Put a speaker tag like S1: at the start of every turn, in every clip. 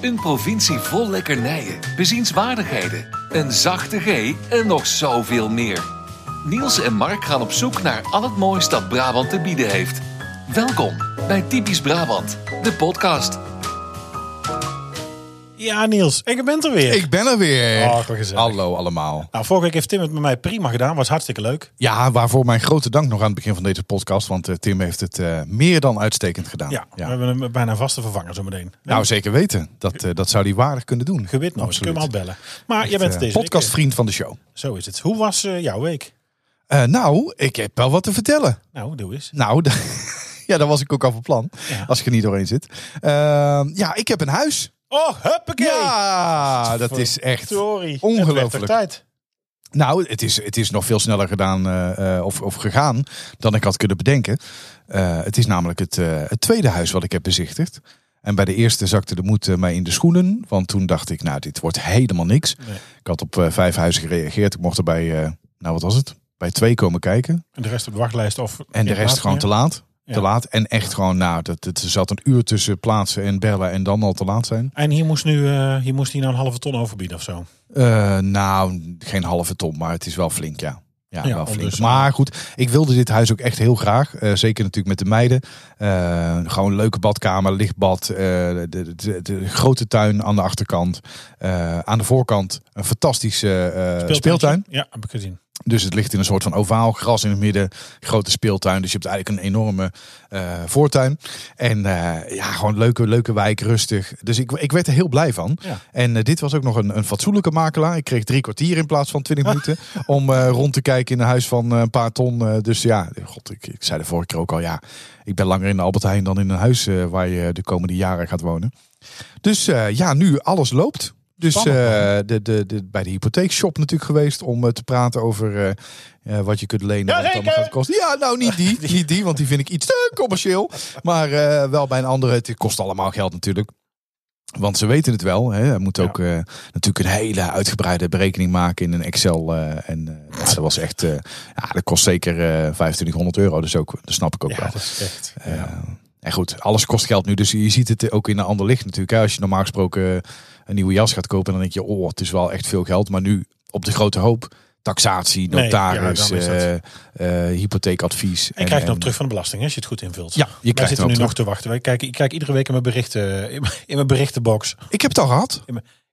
S1: Een provincie vol lekkernijen, bezienswaardigheden, een zachte G en nog zoveel meer. Niels en Mark gaan op zoek naar al het moois dat Brabant te bieden heeft. Welkom bij Typisch Brabant, de podcast.
S2: Ja, Niels, ik ben er weer.
S3: Ik ben er weer.
S2: Oh, wat gezellig.
S3: Hallo allemaal.
S2: Nou, vorige week heeft Tim het met mij prima gedaan. Was hartstikke leuk.
S3: Ja, waarvoor mijn grote dank nog aan het begin van deze podcast. Want eh, Tim heeft het eh, meer dan uitstekend gedaan.
S2: Ja, we hebben hem bijna een vaste vervanger zometeen.
S3: Nou, zeker weten. Dat, eh, dat zou hij waardig kunnen doen.
S2: Gewit nog, kun je
S3: Absoluut.
S2: hem al bellen. Maar jij bent
S3: Eh,
S2: het deze week.
S3: Podcastvriend van de show.
S2: weer. Zo is het. Hoe was eh, jouw week?
S3: Eh, nou, ik heb wel wat te vertellen.
S2: Nou, doe eens.
S3: Nou, da- ja, daar was ik ook al van plan.
S2: Ja.
S3: Als ik er niet doorheen zit. Eh, ja, ik heb een huis.
S2: Oh, huppakee!
S3: Ja, dat is echt...
S2: Sorry.
S3: ongelooflijk.
S2: tijd.
S3: Nou, het is, het is nog veel sneller gedaan eh, eh, of, of gegaan dan ik had kunnen bedenken. Eh, het is namelijk het, eh, het tweede huis wat ik heb bezichtigd. En bij de eerste zakte de moed eh, mij in de schoenen. Want toen dacht ik, nou, dit wordt helemaal niks.
S2: Nee.
S3: Ik had op eh, vijf huizen gereageerd. Ik mocht er bij, eh, nou wat was het? Bij twee komen kijken.
S2: En de rest op de wachtlijst of...
S3: En de rest gewoon te laat.
S2: Ja.
S3: Te laat. En echt gewoon, nou, dat, het zat een uur tussen plaatsen en bellen en dan al te laat zijn.
S2: En hier moest, nu, eh, hier moest hij nou een halve ton overbieden of zo.
S3: Eh, nou, geen halve ton, maar het is wel flink, ja. Ja,
S2: Ja,
S3: wel flink.
S2: dus-
S3: maar goed, ik wilde dit huis ook echt heel graag. Eh, zeker natuurlijk met de meiden. Eh, gewoon een leuke badkamer, lichtbad. eh, de, de, de- de grote tuin aan de achterkant. Eh, aan de voorkant een fantastische eh, speeltuin.
S2: Ja, heb ik gezien.
S3: Dus het ligt in een soort van ovaal, gras in het midden, grote speeltuin. Dus je hebt eigenlijk een enorme eh, voortuin. En eh, ja, gewoon leuke, leuke wijk, rustig. Dus ik, ik werd er heel blij van.
S2: Ja.
S3: En eh, dit was ook nog een, een fatsoenlijke makelaar. Ik kreeg drie kwartier in plaats van twintig minuten om eh, rond te kijken in een huis van eh, een paar ton. Eh, dus ja, god, ik, ik zei de vorige keer ook al, ja, ik ben langer in de Albert Heijn dan in een huis eh, waar je de komende jaren gaat wonen. Dus eh, ja, nu alles loopt. Dus
S2: Spannend,
S3: eh, de, de, de, bij de hypotheekshop natuurlijk geweest om eh, te praten over eh, eh, wat je kunt lenen. wat het allemaal
S2: Jazeker!
S3: gaat kosten. Ja, nou niet die, niet die, want die vind ik iets te commercieel. Maar eh, wel bij een andere, het kost allemaal geld natuurlijk. Want ze weten het wel. Hè. Er moet ook eh, natuurlijk een hele uitgebreide berekening maken in een Excel. eh, en eh, ja, dat was echt, eh, ja, dat kost zeker eh 2500 euro. Dus ook, dat snap ik ook wel.
S2: Ja, dat is echt...
S3: Eh,
S2: ja.
S3: En goed, alles kost geld nu. Dus je ziet het ook in een ander licht natuurlijk. hè. Als je normaal gesproken eh, een nieuwe jas gaat kopen, dan denk je, oh, het is wel echt veel geld. Maar nu op de grote hoop, taxatie,
S2: Nee, ja,
S3: notaris,
S2: dan is dat.
S3: eh, eh, hypotheekadvies.
S2: En krijg je nog terug van de belasting hè, als je het goed invult.
S3: Ja, je
S2: Wij
S3: krijgt
S2: zitten
S3: er
S2: nu
S3: ook
S2: nog te wachten. Wij kijken, ik kijk iedere week in mijn, berichten, in mijn- in mijn berichtenbox.
S3: Ik heb het al gehad,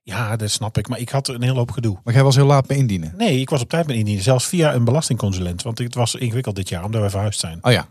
S2: Ja, dat snap ik. Maar ik had een hele hoop gedoe.
S3: maar jij was heel laat mee indienen.
S2: Nee, ik was op tijd met indienen. Zelfs via een belastingconsulent. Want het was ingewikkeld dit jaar, omdat wij verhuisd zijn.
S3: Oh ja,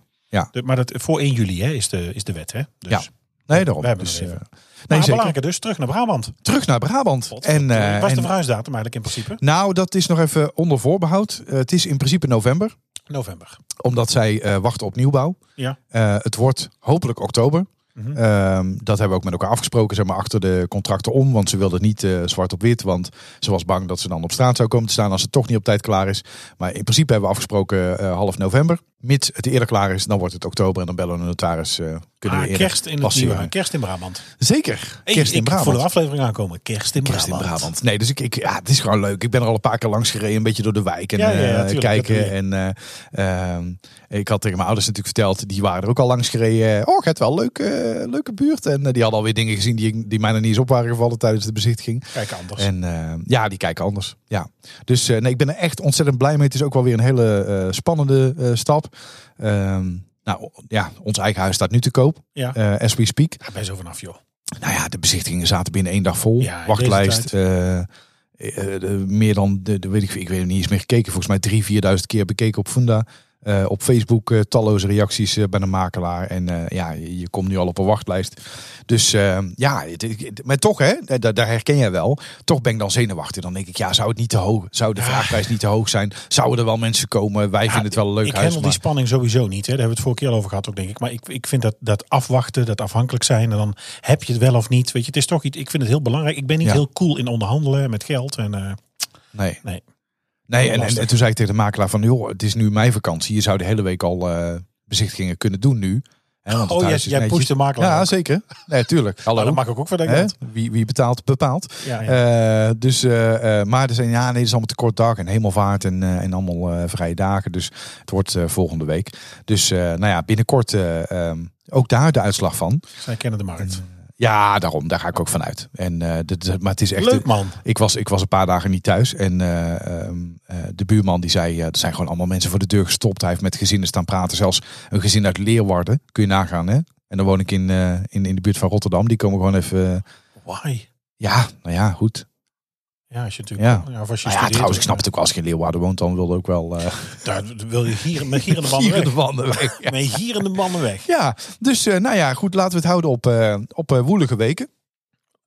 S2: De- Maar dat, voor 1 juli hè, is, de, is de wet. Hè? Dus.
S3: Ja. nee, daarom.
S2: We hebben
S3: Dus,
S2: het
S3: eh,
S2: even.
S3: nee,
S2: maar
S3: zeker.
S2: belangrijker dus, terug naar Brabant.
S3: Terug naar Brabant. En, eh,
S2: was de
S3: en-
S2: verhuisdatum eigenlijk in principe?
S3: nou, dat is nog even onder voorbehoud. Eh, het is in principe november.
S2: November.
S3: Omdat zij eh, wachten op nieuwbouw.
S2: Ja.
S3: Eh, het wordt hopelijk oktober.
S2: Mhm.
S3: Ehm, dat hebben we ook met elkaar afgesproken, zeg maar, achter de contracten om. Want ze wilde het niet eh, zwart op wit. Want ze was bang dat ze dan op straat zou komen te staan als het toch niet op tijd klaar is. Maar in principe hebben we afgesproken eh, half november. Mits het eerder klaar is, dan wordt het oktober. En dan bellen we een notaris. eh, kunnen we
S2: Ah,
S3: eerder
S2: kerst in het
S3: passeren.
S2: nieuwe, kerst in Brabant.
S3: Zeker.
S2: Hey,
S3: kerst in
S2: ik
S3: Brabant.
S2: voel de aflevering aankomen. Kerst in
S3: Kerst in
S2: Brabant.
S3: Brabant. Nee, dus ik, ik, ja, het is gewoon leuk. Ik ben er al een paar keer langs gereden, een beetje door de wijk en
S2: Ja, ja, ja,
S3: eh,
S2: tuurlijk, dat
S3: kijken.
S2: doe
S3: En eh, ehm, ik had tegen mijn ouders natuurlijk verteld, die waren er ook al langs gereden. Oh, het wel leuke, leuke buurt. En eh, die hadden alweer dingen gezien die, ik- die mij nog niet eens op waren gevallen tijdens de bezichtiging.
S2: Kijk anders.
S3: En eh, ja, die kijken anders. Ja. Dus eh, nee, ik ben er echt ontzettend blij mee. Het is ook wel weer een hele eh, spannende eh, stap. Ehm, nou ja, ons eigen huis staat nu te koop,
S2: ja.
S3: eh, as we speak.
S2: Daar ben je zo vanaf, joh.
S3: Nou ja, de bezichtigingen zaten binnen één dag vol.
S2: Ja, in
S3: Wachtlijst.
S2: deze
S3: eh, eh, de- meer dan, de, de, weet ik, ik weet er niet eens meer gekeken. Volgens mij drie, vierduizend keer bekeken op Funda. Eh, op Facebook eh, talloze reacties eh, bij de makelaar. En eh, ja, je, je komt nu al op een wachtlijst. Dus eh, ja, het- het- maar toch hè, da- daar, herken jij wel. Toch ben ik dan zenuwachtig. Dan denk ik, ja, zou het niet te hoog, zou de vraagprijs niet te hoog zijn? Zouden er wel mensen komen? Wij vinden het wel een leuk
S2: ik
S3: huis.
S2: handel die
S3: maar-
S2: spanning sowieso niet. Hè. Daar hebben we het vorige keer al over gehad ook, denk ik. Maar ik, ik vind dat, dat afwachten, dat afhankelijk zijn. En dan heb je het wel of niet. Weet je, het is toch iets... Ik vind het heel belangrijk. Ik ben niet
S3: Ja.
S2: heel cool in onderhandelen met geld. En, eh,
S3: Nee.
S2: Nee.
S3: Nee, en, en,
S2: Lastig.
S3: en toen zei ik tegen de makelaar van, joh, het is nu mijn vakantie. Je zou de hele week al eh, bezichtigingen kunnen doen nu. Hè, want het
S2: oh, jij,
S3: huis is
S2: jij
S3: netjes.
S2: pusht de makelaar.
S3: Ja,
S2: ook.
S3: zeker. Nee, tuurlijk.
S2: Maar
S3: Hallo.
S2: dat mag ik ook voor dat
S3: Hè?
S2: geld.
S3: Wie, wie betaalt, bepaalt.
S2: Ja, ja.
S3: Eh, dus, eh, eh, maar er zijn, ja, nee, het is allemaal te kort dag en helemaal vaart en, eh, en allemaal eh, vrije dagen. Dus het wordt eh, volgende week. Dus eh, nou ja, binnenkort eh, ehm, ook daar de uitslag van. mm,
S2: Zij kennen de markt.
S3: Ja, daarom. Daar ga ik ook van uit. En, eh, dit, is- maar het is echt... eh,
S2: Leuk man.
S3: Ik was, ik was een paar dagen niet thuis. En eh, ehm, eh, de buurman die zei, eh, er zijn gewoon allemaal mensen voor de deur gestopt. Hij heeft met gezinnen staan praten. Zelfs een gezin uit Leeuwarden. Kun je nagaan, hè? En dan woon ik in, eh, in, in de buurt van Rotterdam. Die komen gewoon even... eh,
S2: Why?
S3: ja, nou ja, goed.
S2: Ja, als je natuurlijk.
S3: Ja.
S2: Ja. of als je
S3: Nou ja,
S2: studeert
S3: trouwens,
S2: of-
S3: ik snap het ook wel. Als je in Leeuwarden woont, dan wil ook wel... eh
S2: Daar wil je hier, met hier in de banden
S3: hier de
S2: weg.
S3: wanden weg. Ja.
S2: Nee, hier in de banden weg.
S3: Ja, dus eh, nou ja, goed. Laten we het houden op, eh, op eh, woelige weken.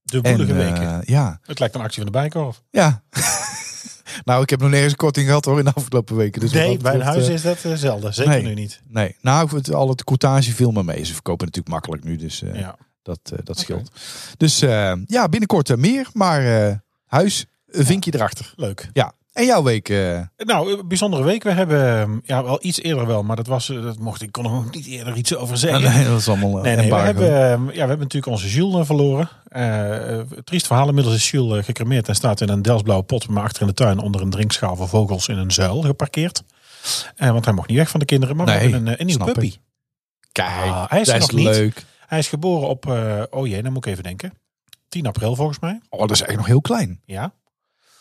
S2: De woelige
S3: En, eh,
S2: weken.
S3: ja,
S2: Het lijkt een actie van de Bijenkorf.
S3: ja. nou, ik heb nog nergens een korting gehad hoor in de afgelopen weken. Dus wat
S2: nee,
S3: dat
S2: bij een
S3: betreft,
S2: huis
S3: eh,
S2: is dat eh, zelden. Zeker
S3: nee.
S2: nu niet.
S3: Nee, nou, het, al het coutage viel me mee. Ze verkopen natuurlijk makkelijk nu, dus eh,
S2: Ja.
S3: dat, eh, dat scheelt. Dus eh, ja, binnenkort eh, meer, maar eh, huis, een vinkje erachter.
S2: Leuk.
S3: Ja, en jouw week? eh,
S2: Nou, een bijzondere week. We hebben ehm, ja, wel iets eerder wel, maar dat was, eh, dat mocht ik kon er nog niet eerder iets over zeggen.
S3: nee, dat is allemaal
S2: Nee,
S3: een
S2: nee, we,
S3: embargo.
S2: hebben, ehm, ja, we hebben natuurlijk onze Jules eh, verloren. Eh, eh, triest verhaal. Inmiddels is Jules eh, gecremeerd en staat in een Delsblauwe pot. Maar achter in de tuin onder een drinkschaal voor vogels in een zuil geparkeerd. Eh, want hij mocht niet weg van de kinderen. Maar
S3: Nee,
S2: we hebben een, eh, een nieuwe
S3: snap ik.
S2: puppy.
S3: Kijk,
S2: Ah, hij is er
S3: dat is
S2: nog niet.
S3: leuk.
S2: Hij is geboren op, eh, oh jee, dan moet ik even denken. 10 april volgens mij.
S3: Oh, dat is eigenlijk nog heel klein.
S2: Ja,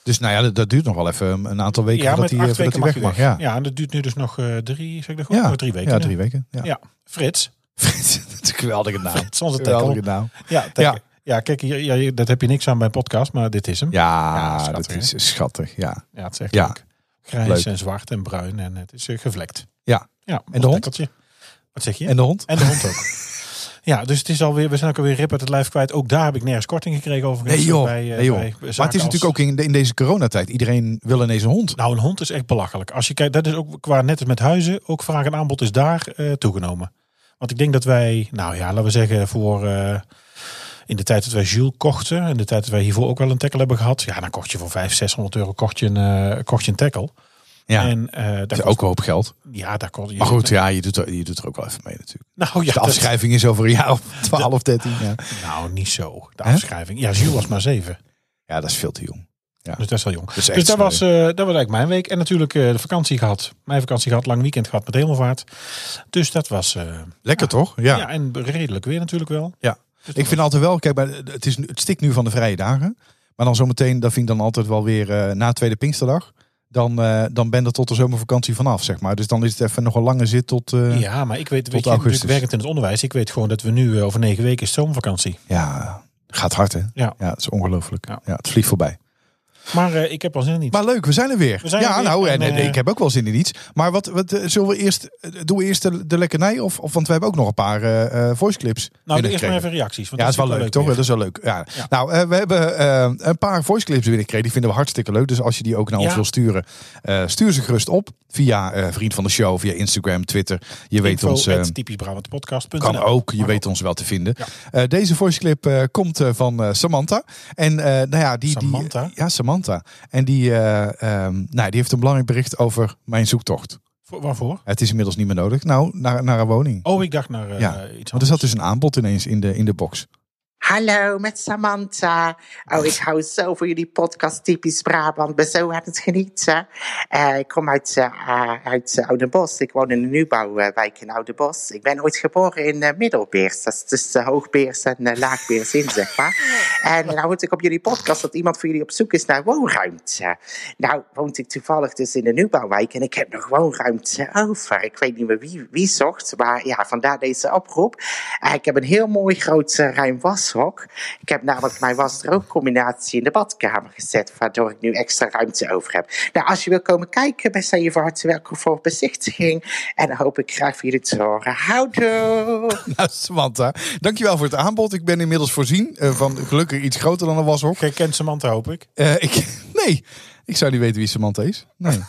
S3: Dus nou ja, dat, dat duurt nog wel even een aantal weken
S2: ja
S3: voordat hij, eh, voordat hij weg
S2: je
S3: mag. Ja.
S2: ja, en dat duurt nu dus nog eh, drie, zeg ik dat goed?
S3: Ja.
S2: Nog drie weken.
S3: Ja,
S2: hè?
S3: drie weken. Ja.
S2: Ja. Frits.
S3: dat is een geweldige naam.
S2: Frits, onze tackle.
S3: Geweldige naam.
S2: Ja, tackle. ja. kijk, hier, ja, hier- dat heb je niks aan bij een podcast, maar dit is hem. Ja,
S3: Ja,
S2: Ja, schattig,
S3: dat is schattig. Ja.
S2: het is echt
S3: Ja.
S2: leuk. Grijs
S3: Leuk.
S2: en zwart en bruin en het is eh, gevlekt.
S3: Ja.
S2: ja
S3: de
S2: ons
S3: hond?
S2: tackeltje. Wat zeg je?
S3: En de hond?
S2: En de hond ook. ja, dus het is alweer, we zijn ook alweer rip uit het lijf kwijt. Ook daar heb ik nergens korting gekregen overigens.
S3: Nee joh.
S2: Bij, eh,
S3: nee, joh.
S2: bij
S3: Maar het is
S2: zaken als-
S3: natuurlijk ook in, de- in deze coronatijd. Iedereen wil ineens een hond.
S2: Nou, een hond is echt belachelijk. Als je kijkt, dat is ook qua net als met huizen, ook vraag en aanbod is daar eh, toegenomen. Want ik denk dat wij, nou ja, laten we zeggen voor eh, in de tijd dat wij Jules kochten, in de tijd dat wij hiervoor ook wel een tackle hebben gehad, ja, dan kocht je voor 500, 600 euro kocht je een, eh, kocht je een tackle.
S3: Ja.
S2: En eh,
S3: dat
S2: daar
S3: is
S2: kost-
S3: ook een hoop geld.
S2: ja, daar kost je.
S3: Maar goed, ja, je doet, er, je doet er ook wel even mee natuurlijk.
S2: nou ja,
S3: De
S2: dat-
S3: afschrijving is over een jaar of 12, 13. Ja,
S2: nou niet zo. De
S3: Hè?
S2: afschrijving. Ja, Jules was maar zeven,
S3: ja dat is veel te jong.
S2: dus dat is wel jong.
S3: Dat is echt
S2: Dus dat
S3: sneu.
S2: was, eh, dat was eigenlijk mijn week. En natuurlijk eh, de vakantie gehad. Mijn vakantie gehad, lang weekend gehad met hemelvaart. Dus dat was. eh,
S3: Lekker toch?
S2: Ja.
S3: Ja.
S2: en redelijk weer natuurlijk wel.
S3: Ja.
S2: Dus
S3: Ik vind altijd wel, kijk, maar het, is, nu- het stikt nu van de vrije dagen. Maar dan zometeen, dat vind ik dan altijd wel weer eh, na tweede Pinksterdag. Dan, eh, dan ben je er tot de zomervakantie vanaf, zeg maar. Dus dan is het even nog een lange zit tot... eh, ja.
S2: Ja, maar ik weet, weet je,
S3: augustus.
S2: natuurlijk werkend in het onderwijs. Ik weet gewoon dat we nu eh, over negen weken is zomervakantie.
S3: gaat hard hè?
S2: Ja.
S3: het is ongelooflijk.
S2: Ja.
S3: Ja. het vliegt voorbij.
S2: Maar eh, ik heb al zin in iets.
S3: Maar leuk, we zijn er weer.
S2: We zijn
S3: ja,
S2: er weer.
S3: nou, en,
S2: En,
S3: en
S2: eh,
S3: ik heb ook wel zin in iets. Maar wat, wat eh, zullen we eerst, eh, doen we eerst de, de lekkernij? Of, of, want we hebben ook nog een paar eh eh, voiceclips.
S2: nou, eerst
S3: binnengekregen.
S2: maar even reacties. Want
S3: Ja, dat is wel leuk, toch?
S2: weer.
S3: Dat is wel leuk. Ja.
S2: Ja.
S3: Nou, eh, we hebben eh, een paar voiceclips binnengekregen. Die vinden we hartstikke leuk. Dus als je die ook naar ons
S2: Ja.
S3: wil sturen, eh, stuur ze gerust op. Via eh, Vriend van de Show, via Instagram, Twitter. Je weet
S2: Info
S3: ons... eh,
S2: at typischbrabantpodcast.nl.
S3: kan ook, je
S2: Mag
S3: weet ons wel te vinden. Eh, deze voiceclip eh, komt eh, van eh, Samantha. En eh, nou ja, die,
S2: Samantha?
S3: Die, ja, Samantha. En die, eh, ehm, nou, die heeft een belangrijk bericht over mijn zoektocht.
S2: Voor- waarvoor?
S3: Het is inmiddels niet meer nodig. Nou, naar, naar een woning.
S2: Oh, ik dacht naar eh,
S3: Ja.
S2: iets
S3: Want er
S2: anders.
S3: zat dus een aanbod ineens in de, in de box.
S4: Hallo, met Samantha. Oh, ik hou zo van jullie podcast Typisch Brabant. Ben zo aan het genieten. Eh, ik kom uit, eh eh, uit eh, Oudenbosch. Ik woon in een nieuwbouwwijk in Oudenbosch. Ik ben ooit geboren in eh, Middelbeers. Dat is tussen eh, Hoogbeers en eh, Laagbeers in, zeg maar. En nou hoorde ik op jullie podcast dat iemand voor jullie op zoek is naar woonruimte. Nou, woont ik toevallig dus in de nieuwbouwwijk en ik heb nog woonruimte over. Ik weet niet meer wie, wie zocht, maar ja, vandaar deze oproep. Eh, ik heb een heel mooi groot eh, ruim washok. Ik heb namelijk mijn wasdroogcombinatie in de badkamer gezet, waardoor ik nu extra ruimte over heb. Nou, als je wil komen kijken, ben zijn je van harte welkom voor bezichtiging. En dan hoop ik graag van jullie te horen. Houdoe!
S3: Nou, Samantha, dankjewel voor het aanbod. Ik ben inmiddels voorzien eh, van gelukkig iets groter dan een washok.
S2: Jij kent Samantha, hoop ik.
S3: Eh, ik, nee, ik zou niet weten wie Samantha is. Nee.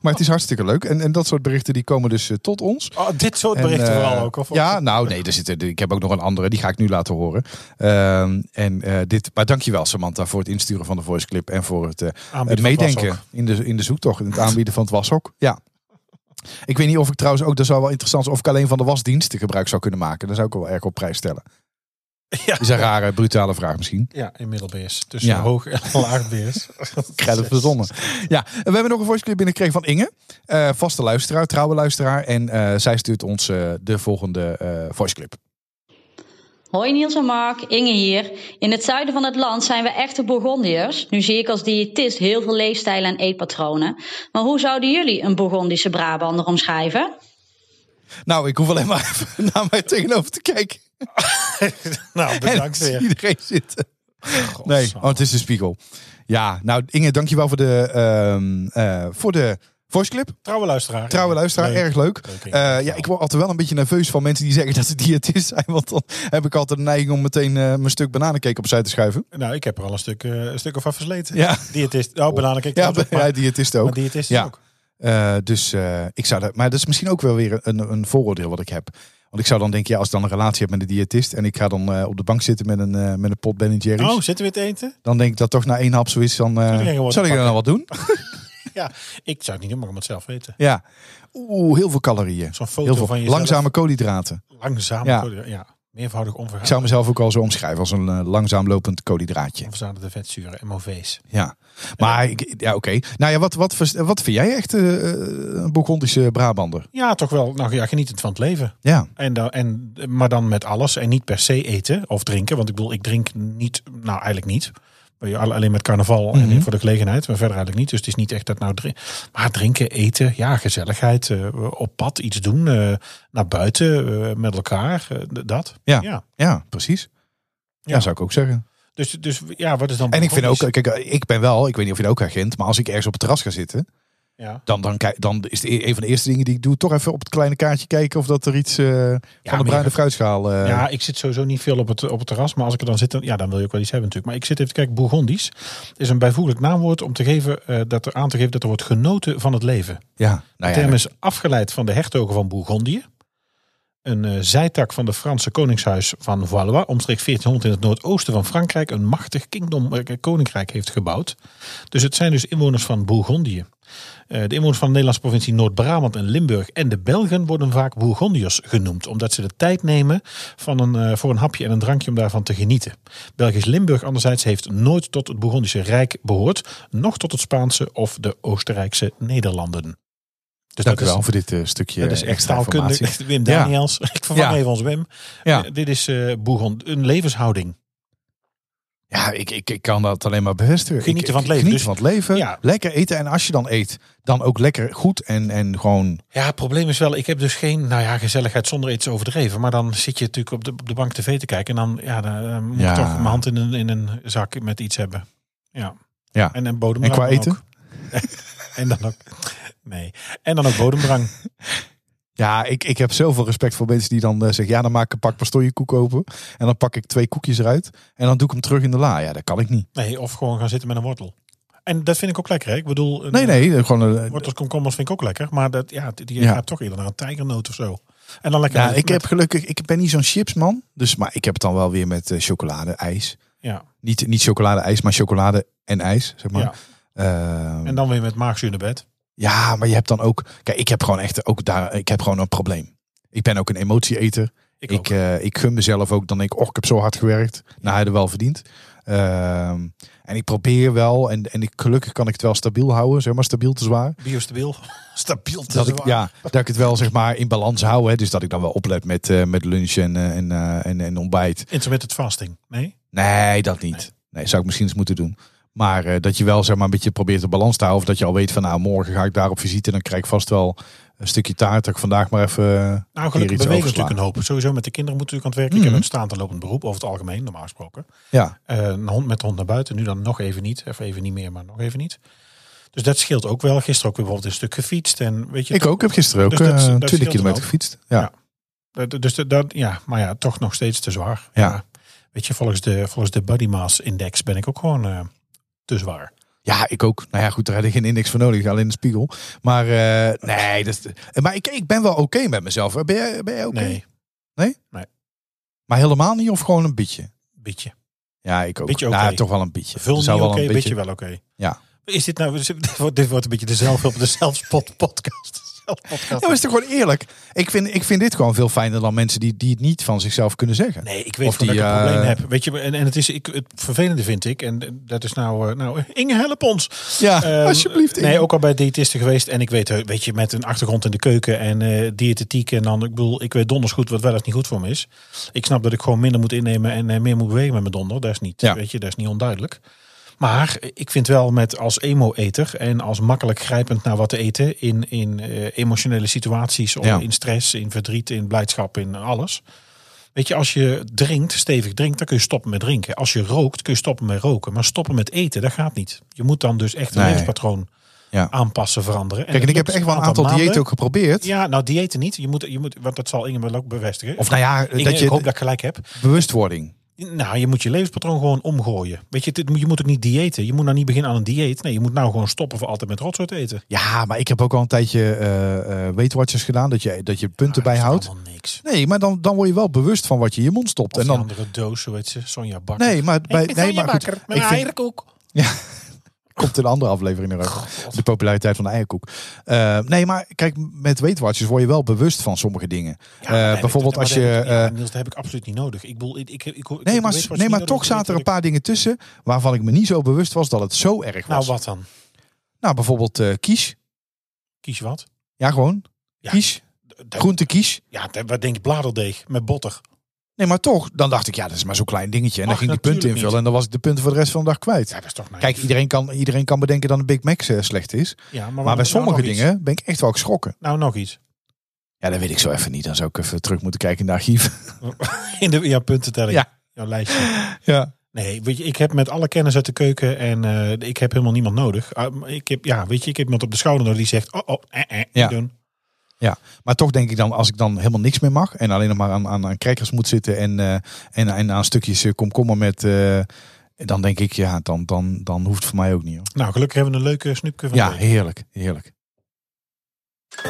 S3: Maar het is hartstikke leuk. En, en dat soort berichten die komen dus eh, tot ons.
S2: Oh, dit soort
S3: En,
S2: berichten
S3: eh,
S2: vooral ook. Of,
S3: ja, nou nee, er zitten, ik heb ook nog een andere. Die ga ik nu laten horen. Ehm, en, eh, dit, maar dankjewel Samantha voor het insturen van de voiceclip. En voor het, eh,
S2: Aanbieden
S3: het
S2: van het
S3: meedenken
S2: washok.
S3: in de, in de zoektocht. En het aanbieden van het washok. Ja. Ik weet niet of ik trouwens ook, dat zou wel interessant zijn, of ik alleen van de wasdiensten gebruik zou kunnen maken. Daar zou ik wel erg op prijs stellen.
S2: ja.
S3: Is een rare, brutale vraag misschien.
S2: ja, in middelbeers. Tussen
S3: Ja.
S2: hoog en laagbeers.
S3: Credit voor de zonne. Ja, en we hebben nog een voiceclip binnengekregen van Inge. Eh, vaste luisteraar, trouwe luisteraar. En eh, zij stuurt ons eh, de volgende eh voiceclip.
S5: Hoi Niels en Mark, Inge hier. In het zuiden van het land zijn we echte Bourgondiërs. Nu zie ik als diëtist heel veel leefstijlen en eetpatronen. Maar hoe zouden jullie een Bourgondische Brabander omschrijven?
S3: Nou, ik hoef alleen maar even naar mij tegenover te kijken.
S2: Nou, bedankt
S3: En ik zie
S2: weer.
S3: iedereen zitten. Nee,
S2: Godsamme.
S3: oh, het is de spiegel. Ja, nou Inge, dankjewel voor de, ehm eh voor de voice clip.
S2: Trouwe luisteraar.
S3: Trouwe luisteraar,
S2: Leuk.
S3: erg leuk.
S2: Leuk, Inge.
S3: Eh, ja, ik word altijd wel een beetje nerveus van mensen die zeggen dat ze diëtist zijn. Want dan heb ik altijd de neiging om meteen eh, mijn stuk bananencake opzij te schuiven.
S2: Nou, ik heb er al een stuk, eh, een stuk of af versleten.
S3: Ja,
S2: Diëtist. Oh, bananencake
S3: ja,
S2: trouwens ook,
S3: ja
S2: maar-
S3: diëtist ook.
S2: maar diëtist
S3: ja.
S2: ook.
S3: Eh, dus eh, ik zou dat, maar dat is misschien ook wel weer een, een vooroordeel wat ik heb. Want ik zou dan denken, ja, als ik dan een relatie heb met een diëtist en ik ga dan eh, op de bank zitten met een, eh, met een pot Ben Jerry's,
S2: Oh, zitten we te eten?
S3: dan denk ik dat toch na één hap zo is, dan eh,
S2: ik er wat
S3: zou ik
S2: pakken?
S3: dan nou wat doen?
S2: Ja, ik zou het niet doen, maar ik moet het zelf weten.
S3: Ja. Oeh, heel veel calorieën.
S2: Zo'n foto
S3: Heel veel
S2: van jezelf.
S3: langzame koolhydraten.
S2: Langzaam.
S3: Ja.
S2: Ja. ja. Meervoudig onvergaan.
S3: Ik zou mezelf ook al zo omschrijven als een eh, langzaam lopend koolhydraatje.
S2: de vetzuren, MOV's.
S3: Ja, maar ik- ja, oké. Nou ja, wat, wat, vers- wat vind jij echt eh, een Bourgondische Brabander?
S2: Ja, toch wel. Nou ja, genietend van het leven.
S3: Ja,
S2: En, dan- en, maar dan met alles en niet per se eten of drinken. Want ik bedoel, ik drink niet, nou eigenlijk niet. Alleen met carnaval en
S3: Mhm.
S2: voor de gelegenheid, maar verder eigenlijk niet. Dus het is niet echt dat nou drinken. Maar drinken, eten, ja, gezelligheid, eh, op pad iets doen, eh, naar buiten eh, met elkaar, eh, d- dat.
S3: Ja. ja, precies. Ja,
S2: Ja.
S3: zou ik ook zeggen.
S2: Dus, dus ja, wat is dan.
S3: En ik vind ook,
S2: Bourgondisch?
S3: kijk, eh, ik ben wel, ik weet niet of je dat ook herkent, maar als ik ergens op het terras ga zitten,
S2: Ja.
S3: dan, dan, kijk- dan is het e- een van de eerste dingen die ik doe, toch even op het kleine kaartje kijken of dat er iets eh, van
S2: maar
S3: de
S2: je
S3: bruine
S2: gaat-
S3: fruitschaal. eh,
S2: Ja, ik zit sowieso niet veel op het, op het terras. Maar als ik er dan zit, dan, ja, dan wil je ook wel iets hebben natuurlijk. Maar ik zit even te kijken. Bourgondisch is een bijvoeglijk naamwoord om te geven, eh, dat er aan te geven dat er wordt genoten van het leven.
S3: ja,
S2: De
S3: nou ja,
S2: term is afgeleid van de hertogen van Bourgondië. Een eh, zijtak van de Franse koningshuis van Valois, omstreeks 1400 in het noordoosten van Frankrijk, een machtig kingdom, eh, koninkrijk heeft gebouwd. Dus het zijn dus inwoners van Bourgondië. Eh, de inwoners van de Nederlandse provincie Noord-Brabant en Limburg en de Belgen worden vaak Bourgondiërs genoemd, omdat ze de tijd nemen van een, eh, voor een hapje en een drankje om daarvan te genieten. Belgisch Limburg anderzijds heeft nooit tot het Bourgondische Rijk behoord, nog tot het Spaanse of de Oostenrijkse Nederlanden. Dus
S3: dank u
S2: dat is-
S3: wel voor dit eh, stukje
S2: dat is echt
S3: extra informatie.
S2: taalkundig. Wim Daniels. Ik vervang
S3: Ja.
S2: even ons Wim.
S3: Ja.
S2: Eh, dit is eh Bourgond. Een levenshouding.
S3: Ja, ik, ik, ik kan dat alleen maar bevestigen.
S2: Genieten
S3: Ik-
S2: van het
S3: ik
S2: leven,
S3: Genieten van
S2: dus-
S3: het leven.
S2: Ja.
S3: Lekker eten. En als je dan eet, dan ook lekker goed en, en gewoon...
S2: Ja, het probleem is wel, ik heb dus geen nou ja, gezelligheid zonder iets overdreven. Maar dan zit je natuurlijk op de, op de bank tv te kijken. En dan, ja, dan eh, moet
S3: Ja.
S2: ik toch mijn hand in een, in een zak met iets hebben. Ja.
S3: Ja.
S2: En een bodemdrang.
S3: En qua
S2: dan ook.
S3: eten?
S2: En dan ook. Nee. En dan ook bodemdrang.
S3: Ja, ik, ik heb zoveel respect voor mensen die dan eh, zeggen... Ja, dan maak ik een pak pastooienkoek open. En dan pak ik twee koekjes eruit. En dan doe ik hem terug in de la. Ja, dat kan ik niet.
S2: Nee, of gewoon gaan zitten met een wortel. En dat vind ik ook lekker. Hè? Ik bedoel, een-
S3: Nee, nee. eh, Gewoon, eh,
S2: wortels komkommers vind ik ook lekker. Maar dat, ja, die die
S3: Ja.
S2: gaat toch eerder naar een tijgernoot of zo. En dan lekker.
S3: ja,
S2: met-
S3: ik
S2: met-
S3: heb gelukkig... Ik ben niet zo'n chipsman. Dus, maar ik heb het dan wel weer met eh, chocolade, ijs.
S2: ja.
S3: Niet, niet chocolade, ijs, maar chocolade en ijs, zeg maar.
S2: Ja.
S3: Ehm,
S2: En dan weer met maagzuur naar bed.
S3: Ja, maar je hebt dan ook. Kijk, ik heb gewoon echt ook daar. Ik heb gewoon een probleem. Ik ben ook een emotieeter.
S2: Ik,
S3: Ik,
S2: ook.
S3: ik, eh, ik gun mezelf ook. Dan denk ik, och, ik heb zo hard gewerkt. Nou, hij er wel verdiend. Ehm, en ik probeer wel. En, en ik, gelukkig kan ik het wel stabiel houden. Zeg maar stabiel te zwaar.
S2: Biostabiel. Stabiel te
S3: Dat ik,
S2: zwaar.
S3: ja, dat ik het wel zeg maar in balans hou. Hè. Dus dat ik dan wel oplet met, eh, met lunch en, eh, en, eh, en, en ontbijt.
S2: Intermittent fasting. Nee?
S3: Nee, dat niet. Nee, zou ik misschien eens moeten doen. Maar eh, dat je wel zeg maar een beetje probeert de balans te houden. Of dat je al weet van nou morgen ga ik daar op visite. Dan krijg ik vast wel een stukje taart. Dat ik vandaag maar even eh,
S2: Nou,
S3: hier
S2: gelukkig
S3: iets Mhm.
S2: bewegen we
S3: oversla.
S2: natuurlijk een hoop. Sowieso met de kinderen moeten we natuurlijk aan het werk. Ik heb een staand en lopend beroep, over het algemeen, normaal gesproken.
S3: Ja,
S2: Eh, een hond met de hond naar buiten, nu dan nog even niet. Of even niet meer, maar nog even niet. Dus dat scheelt ook wel. Gisteren ook weer bijvoorbeeld een stuk gefietst. En weet je,
S3: ik ook. heb gisteren ook
S2: Dus dat-
S3: eh,
S2: dat
S3: 20
S2: scheelt
S3: kilometer
S2: ook.
S3: gefietst. Ja.
S2: Ja. dat- Dus dat, dat, ja, maar ja, toch nog steeds te zwaar.
S3: Ja.
S2: Weet je, volgens de, volgens de body mass index ben ik ook gewoon eh, te zwaar.
S3: Ja, ik ook. Nou ja, goed, daar had ik geen index voor nodig. Alleen de spiegel. Maar eh, nee, dat is, maar ik, ik ben wel oké met mezelf. Ben jij, ben jij oké?
S2: Nee,
S3: Maar helemaal niet of gewoon een beetje?
S2: beetje.
S3: Ja, ik ook.
S2: Beetje oké.
S3: Nou, toch wel een beetje.
S2: Vul
S3: Er
S2: niet
S3: zou
S2: oké,
S3: wel een
S2: beetje wel oké.
S3: Ja.
S2: Is dit nou... Dit wordt, dit wordt een beetje de zelfhulp, de zelfspot podcast. Zelfpodcast.
S3: Ja, maar is toch gewoon eerlijk? Ik vind, ik vind dit gewoon veel fijner dan mensen die, die het niet van zichzelf kunnen zeggen.
S2: Nee, ik weet
S3: Of
S2: gewoon dat ik
S3: die,
S2: een
S3: eh,
S2: probleem heb. Weet je, en, en het is ik, het vervelende vind ik. En eh, dat is nou, eh, nou Inge help ons.
S3: Ja,
S2: Ehm,
S3: alsjeblieft, Inge.
S2: Nee, ook al bij diëtisten geweest. En ik weet, eh, weet je, met een achtergrond in de keuken en eh diëtetiek. En dan, ik bedoel, ik weet donders goed wat wel of niet goed voor me is. Ik snap dat ik gewoon minder moet innemen en eh, meer moet bewegen met mijn donder. Dat is niet,
S3: Ja.
S2: weet je, dat is niet onduidelijk. Maar eh, ik vind wel met als emo-eter en als makkelijk grijpend naar wat te eten in, in eh, emotionele situaties, of
S3: Ja.
S2: in stress, in verdriet, in blijdschap, in alles. Weet je, als je drinkt, stevig drinkt, dan kun je stoppen met drinken. Als je rookt, kun je stoppen met roken. Maar stoppen met eten, dat gaat niet. Je moet dan dus echt een
S3: Nee.
S2: levenspatroon
S3: Ja.
S2: aanpassen, veranderen.
S3: Kijk, en
S2: dat
S3: ik heb
S2: lukt
S3: echt wel een aantal
S2: maanden.
S3: diëten ook geprobeerd.
S2: Ja, nou diëten niet. Je moet, je moet, want dat zal Inge wel ook bevestigen.
S3: Of nou ja,
S2: Inge,
S3: dat
S2: ik hoop
S3: je
S2: dat ik gelijk heb.
S3: bewustwording.
S2: Nou, je moet je levenspatroon gewoon omgooien. Weet je, dit, moet- je moet ook niet diëten. Je moet nou niet beginnen aan een dieet. Nee, je moet nou gewoon stoppen voor altijd met rotzooi te eten.
S3: Ja, maar ik heb ook al een tijdje eh eh Weight Watchers gedaan. Dat je, dat je punten
S2: Ah, Dat is
S3: bijhoudt.
S2: allemaal niks.
S3: Nee, maar dan, dan word je wel bewust van wat je in je mond stopt.
S2: Of
S3: en
S2: die
S3: dan,
S2: andere doos, zo heet ze, Sonja Bakker.
S3: nee, maar, bij, nee, maar goed,
S2: Bakker,
S3: ik vind, komt in een andere aflevering eruit. De populariteit van de eierkoek. Eh, nee, maar kijk, met Weight Watchers word je wel bewust van sommige dingen.
S2: Ja, maar
S3: Eh,
S2: dat heb
S3: bijvoorbeeld
S2: ik- maar
S3: als
S2: dat
S3: je,
S2: heb ik niet. Ja,
S3: eh,
S2: Niels, dat heb ik absoluut niet nodig. Ik bedoel, ik, ik, ik, ik-
S3: Nee,
S2: ik
S3: maar,
S2: weet wat
S3: nee,
S2: je niet
S3: maar toch
S2: nodig hebt,
S3: zaten er een
S2: dat
S3: paar dingen tussen waarvan ik me niet zo bewust was dat het zo erg
S2: ik-
S3: was.
S2: Nou, wat dan?
S3: Nou, bijvoorbeeld eh, kies.
S2: Kies je wat?
S3: Ja, gewoon.
S2: Ja.
S3: Kies.
S2: Dat-
S3: Groente kies.
S2: Ja, dat- wat denk ik? Bladerdeeg met botter.
S3: Nee, maar toch. Dan dacht ik, ja, dat is maar zo'n klein dingetje. En
S2: Mag
S3: dan ging ik die punten
S2: natuurlijk
S3: invullen en dan was ik de punten voor de rest van de dag kwijt.
S2: Ja, dat is toch nice.
S3: Kijk, iedereen kan, iedereen kan bedenken dat een Big Mac eh, slecht is.
S2: Ja, maar,
S3: Maar
S2: nou
S3: bij sommige
S2: nog iets.
S3: dingen ben ik echt wel geschrokken.
S2: Nou, nog iets.
S3: Ja, dat weet ik zo even niet. Dan zou ik even terug moeten kijken in de archief.
S2: In de ja, puntentelling.
S3: Ja.
S2: Jouw lijstje.
S3: Ja.
S2: Nee, weet je, ik heb met alle kennis uit de keuken en eh, ik heb helemaal niemand nodig. Ah, maar ik heb, ja, weet je, ik heb iemand op de schouder nodig die zegt, oh, oh, eh, eh, niet
S3: Ja.
S2: doen.
S3: Ja, maar toch denk ik dan, als ik dan helemaal niks meer mag en alleen nog maar aan, aan, aan crackers moet zitten en, eh, en, en aan stukjes eh, komkommer met, eh, dan denk ik, ja, dan, dan, dan hoeft het voor mij ook niet. Hoor.
S2: Nou, gelukkig hebben we een leuke snoepje van de
S3: Ja,
S2: week.
S3: heerlijk, heerlijk.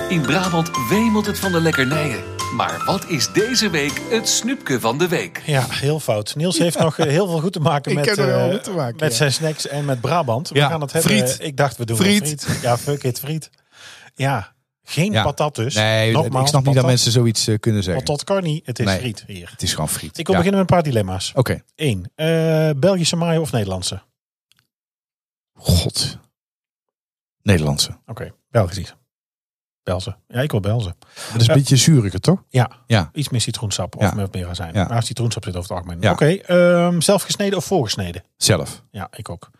S1: In Brabant wemelt het van de lekkernijen. Maar wat is deze week het snoepje van de week?
S2: Ja, heel fout. Niels heeft nog eh, heel veel goed te maken
S3: Ik
S2: met,
S3: heb er heel
S2: eh,
S3: wat te maken,
S2: met
S3: ja.
S2: zijn snacks en met Brabant. We
S3: Ja,
S2: gaan het hebben.
S3: friet.
S2: Ik dacht, we doen wel friet.
S3: Friet.
S2: Ja, fuck it, friet. Ja, geen
S3: Ja.
S2: patat dus.
S3: Nee,
S2: Nogmaals,
S3: ik snap niet
S2: patat-
S3: dat mensen zoiets eh, kunnen zeggen.
S2: Patat kan niet, het is
S3: Nee.
S2: friet hier.
S3: Het is gewoon friet.
S2: Ik wil
S3: Ja.
S2: beginnen met een paar dilemma's.
S3: Oké.
S2: Eén, eh, Belgische mayo of Nederlandse? Oké,
S3: God. Nederlandse.
S2: Belgisch. Belzen. Ja, ik wil Belzen.
S3: Dat is
S2: Ja.
S3: een beetje zuriger, toch?
S2: Ja.
S3: Ja.
S2: Iets meer citroensap of
S3: Ja.
S2: met meer azijn.
S3: Ja.
S2: Maar citroensap zit over het algemeen.
S3: Ja.
S2: Oké, ehm, zelf gesneden of voorgesneden?
S3: Zelf.
S2: Ja, ik ook.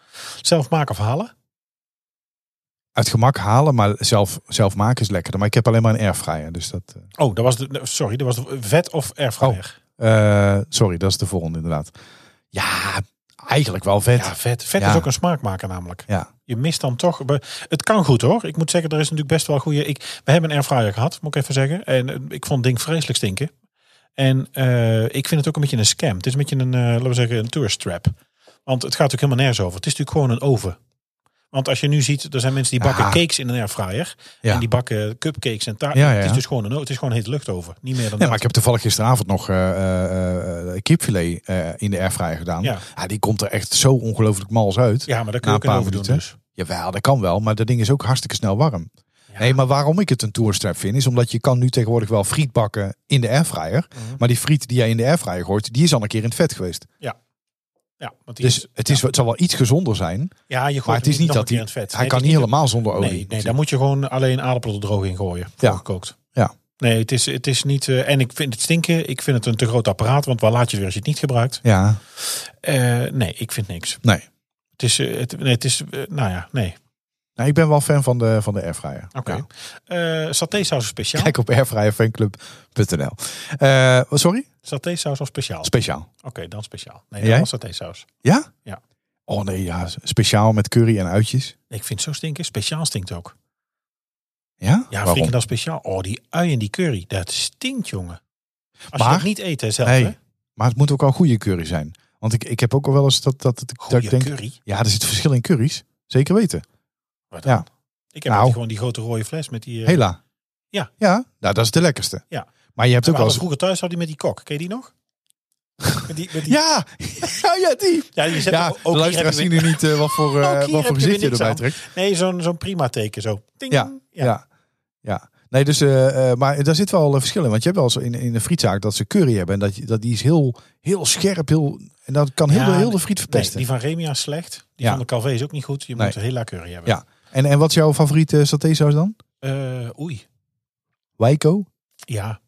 S2: Zelf maken of halen?
S3: Uit gemak halen, maar zelf, zelf maken is lekkerder. Maar ik heb alleen maar een airfryer, dus dat... eh,
S2: Oh, dat was de, sorry, dat was de vet of airfryer.
S3: eh, sorry, dat is de volgende inderdaad. Ja, eigenlijk wel Oh, vet.
S2: ja, vet. Vet
S3: Ja.
S2: is ook een smaakmaker namelijk.
S3: Ja.
S2: Je mist dan toch... be- Het kan goed hoor. Ik moet zeggen, er is natuurlijk best wel goede... Ik, we hebben een airfryer gehad, moet ik even zeggen. En eh, ik vond het ding vreselijk stinken. En eh, ik vind het ook een beetje een scam. Het is een beetje een, eh, laten we zeggen, een tourist trap. Want het gaat ook helemaal nergens over. Het is natuurlijk gewoon een oven. Want als je nu ziet, er zijn mensen die bakken
S3: Ah.
S2: cakes in een airfryer.
S3: Ja.
S2: En die bakken cupcakes en taart.
S3: Ja, ja,
S2: Het is
S3: ja.
S2: dus gewoon een, o- het is gewoon een hete luchtoven. Niet meer dan
S3: Nee,
S2: dat.
S3: maar ik heb toevallig gisteravond nog eh, eh, eh, kipfilet eh, in de airfryer gedaan.
S2: Ja.
S3: Ja. die komt er echt zo ongelooflijk mals uit.
S2: Ja, maar daar kun
S3: Na
S2: je ook
S3: Nou, een
S2: een
S3: paar
S2: oven doen
S3: minuten.
S2: dus.
S3: Jawel, dat kan wel, maar dat ding is ook hartstikke snel warm. Nee, maar waarom ik het een tourstrap vind, is omdat je kan nu tegenwoordig wel friet bakken in de airfryer.
S2: Mhm.
S3: Maar die friet die jij in de airfryer gooit, die is al een keer in het vet geweest.
S2: Ja, want die
S3: Dus het, is, het zal wel iets gezonder zijn,
S2: Ja, je gooit
S3: maar het is
S2: hem
S3: niet
S2: nog
S3: dat
S2: een
S3: hij...
S2: keer in het vet.
S3: Hij
S2: Nee,
S3: kan
S2: het
S3: niet
S2: is
S3: helemaal zonder olie.
S2: Nee, nee, daar moet je gewoon alleen aardappelen er droog in gooien.
S3: Ja.
S2: Gekookt.
S3: Ja.
S2: Nee, het is, het is niet. eh, en ik vind het stinken. Ik vind het een te groot apparaat. Want waar laat je het weer als je het niet gebruikt?
S3: Ja,
S2: Eh, nee, ik vind niks.
S3: nee.
S2: Het is. eh, het, nee, het is eh, nou ja, nee.
S3: Nou, ik ben wel fan van de, van de airfryer.
S2: Oké.
S3: Ja.
S2: Eh, satésaus of speciaal?
S3: Kijk op airfryerfanclub.nl. Eh, sorry?
S2: Satésaus of speciaal?
S3: Speciaal.
S2: Oké, dan speciaal. Nee,
S3: En
S2: dan
S3: jij?
S2: was satésaus.
S3: Ja?
S2: Ja.
S3: Oh nee, ja, speciaal met curry en uitjes.
S2: Nee, ik vind het zo stinken. Speciaal stinkt ook.
S3: Ja?
S2: Ja,
S3: Waarom?
S2: vind je dat speciaal? Oh, die ui en die curry. Dat stinkt, jongen. Als je
S3: Maar-
S2: dat niet eet, hè, zelf.
S3: Nee,
S2: hè?
S3: maar het moet ook wel goede curry zijn. Want ik, ik heb ook al wel eens dat, dat, dat, ik- dat
S2: Goeie
S3: ik denk...
S2: curry.
S3: Ja, er zit verschil in curry's. Zeker weten.
S2: Wat
S3: Ja.
S2: dan? Ik heb
S3: Nou.
S2: altijd gewoon die grote rode fles met die... eh,
S3: Hela.
S2: Ja.
S3: Ja, nou, dat is de lekkerste.
S2: Ja.
S3: Maar je hebt
S2: we
S3: ook
S2: hadden
S3: wel eens...
S2: vroeger thuis had die met die kok. Ken je die nog? Met die, met die-
S3: Ja, ja, ja, die.
S2: ja, je zet
S3: Ja,
S2: ook-
S3: de
S2: ook hier heb
S3: luisteraars
S2: je
S3: zien
S2: weer-
S3: nu niet eh, wat voor, eh,
S2: ook hier heb je
S3: wat voor
S2: weer
S3: gezicht je
S2: niks
S3: erbij
S2: aan.
S3: trekt.
S2: Nee, zo'n zo'n prima teken zo. Ding.
S3: Ja, ja. ja. Nee, dus, eh, eh, maar daar zit wel een verschil in. Want je hebt wel eens in, in de frietzaak dat ze curry hebben. En dat, je- dat die is heel, heel scherp. Heel, en dat kan heel,
S2: Ja,
S3: de, heel de friet
S2: Nee,
S3: verpesten.
S2: die van Remia is slecht. Die
S3: Ja.
S2: van de Calvé is ook niet goed. Je
S3: Nee.
S2: moet een heel lakeurig hebben.
S3: Ja. en, en wat is jouw favoriete satésaus dan?
S2: Eh, oei.
S3: Wijko?
S2: Ja.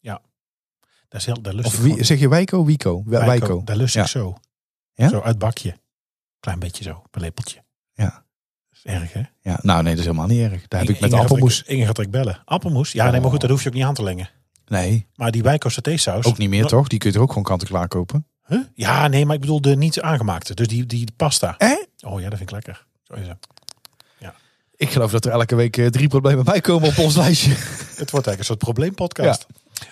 S2: Ja. Dat is heel, daar lust
S3: Of
S2: ik
S3: wie,
S2: gewoon-
S3: zeg je Wijko? Wico? Wij-
S2: Wijko,
S3: Wijko.
S2: Daar lust
S3: Ja.
S2: ik zo.
S3: Ja?
S2: Zo uit bakje. Klein beetje zo. Op een lepeltje.
S3: Ja.
S2: Dat is erg hè?
S3: Ja, nou nee, dat is helemaal niet erg. Daar heb ik met
S2: Inge gaat
S3: appelmoes. Oh.
S2: er- Inge gaat ik bellen. Appelmoes? Ja, nee, maar goed, dat hoef je ook niet aan te lengen.
S3: Nee,
S2: Maar die wijko satésaus.
S3: ook niet meer
S2: Nou,
S3: toch? Die kun je er ook gewoon kant-en-klaar kopen.
S2: Huh? Ja, nee, maar ik bedoel de niet aangemaakte. Dus die, die pasta.
S3: Eh?
S2: Oh ja, dat vind ik lekker. Zo is het.
S3: Ik geloof dat er elke week eh, drie problemen bij komen op ons lijstje.
S2: Het wordt eigenlijk een soort probleempodcast.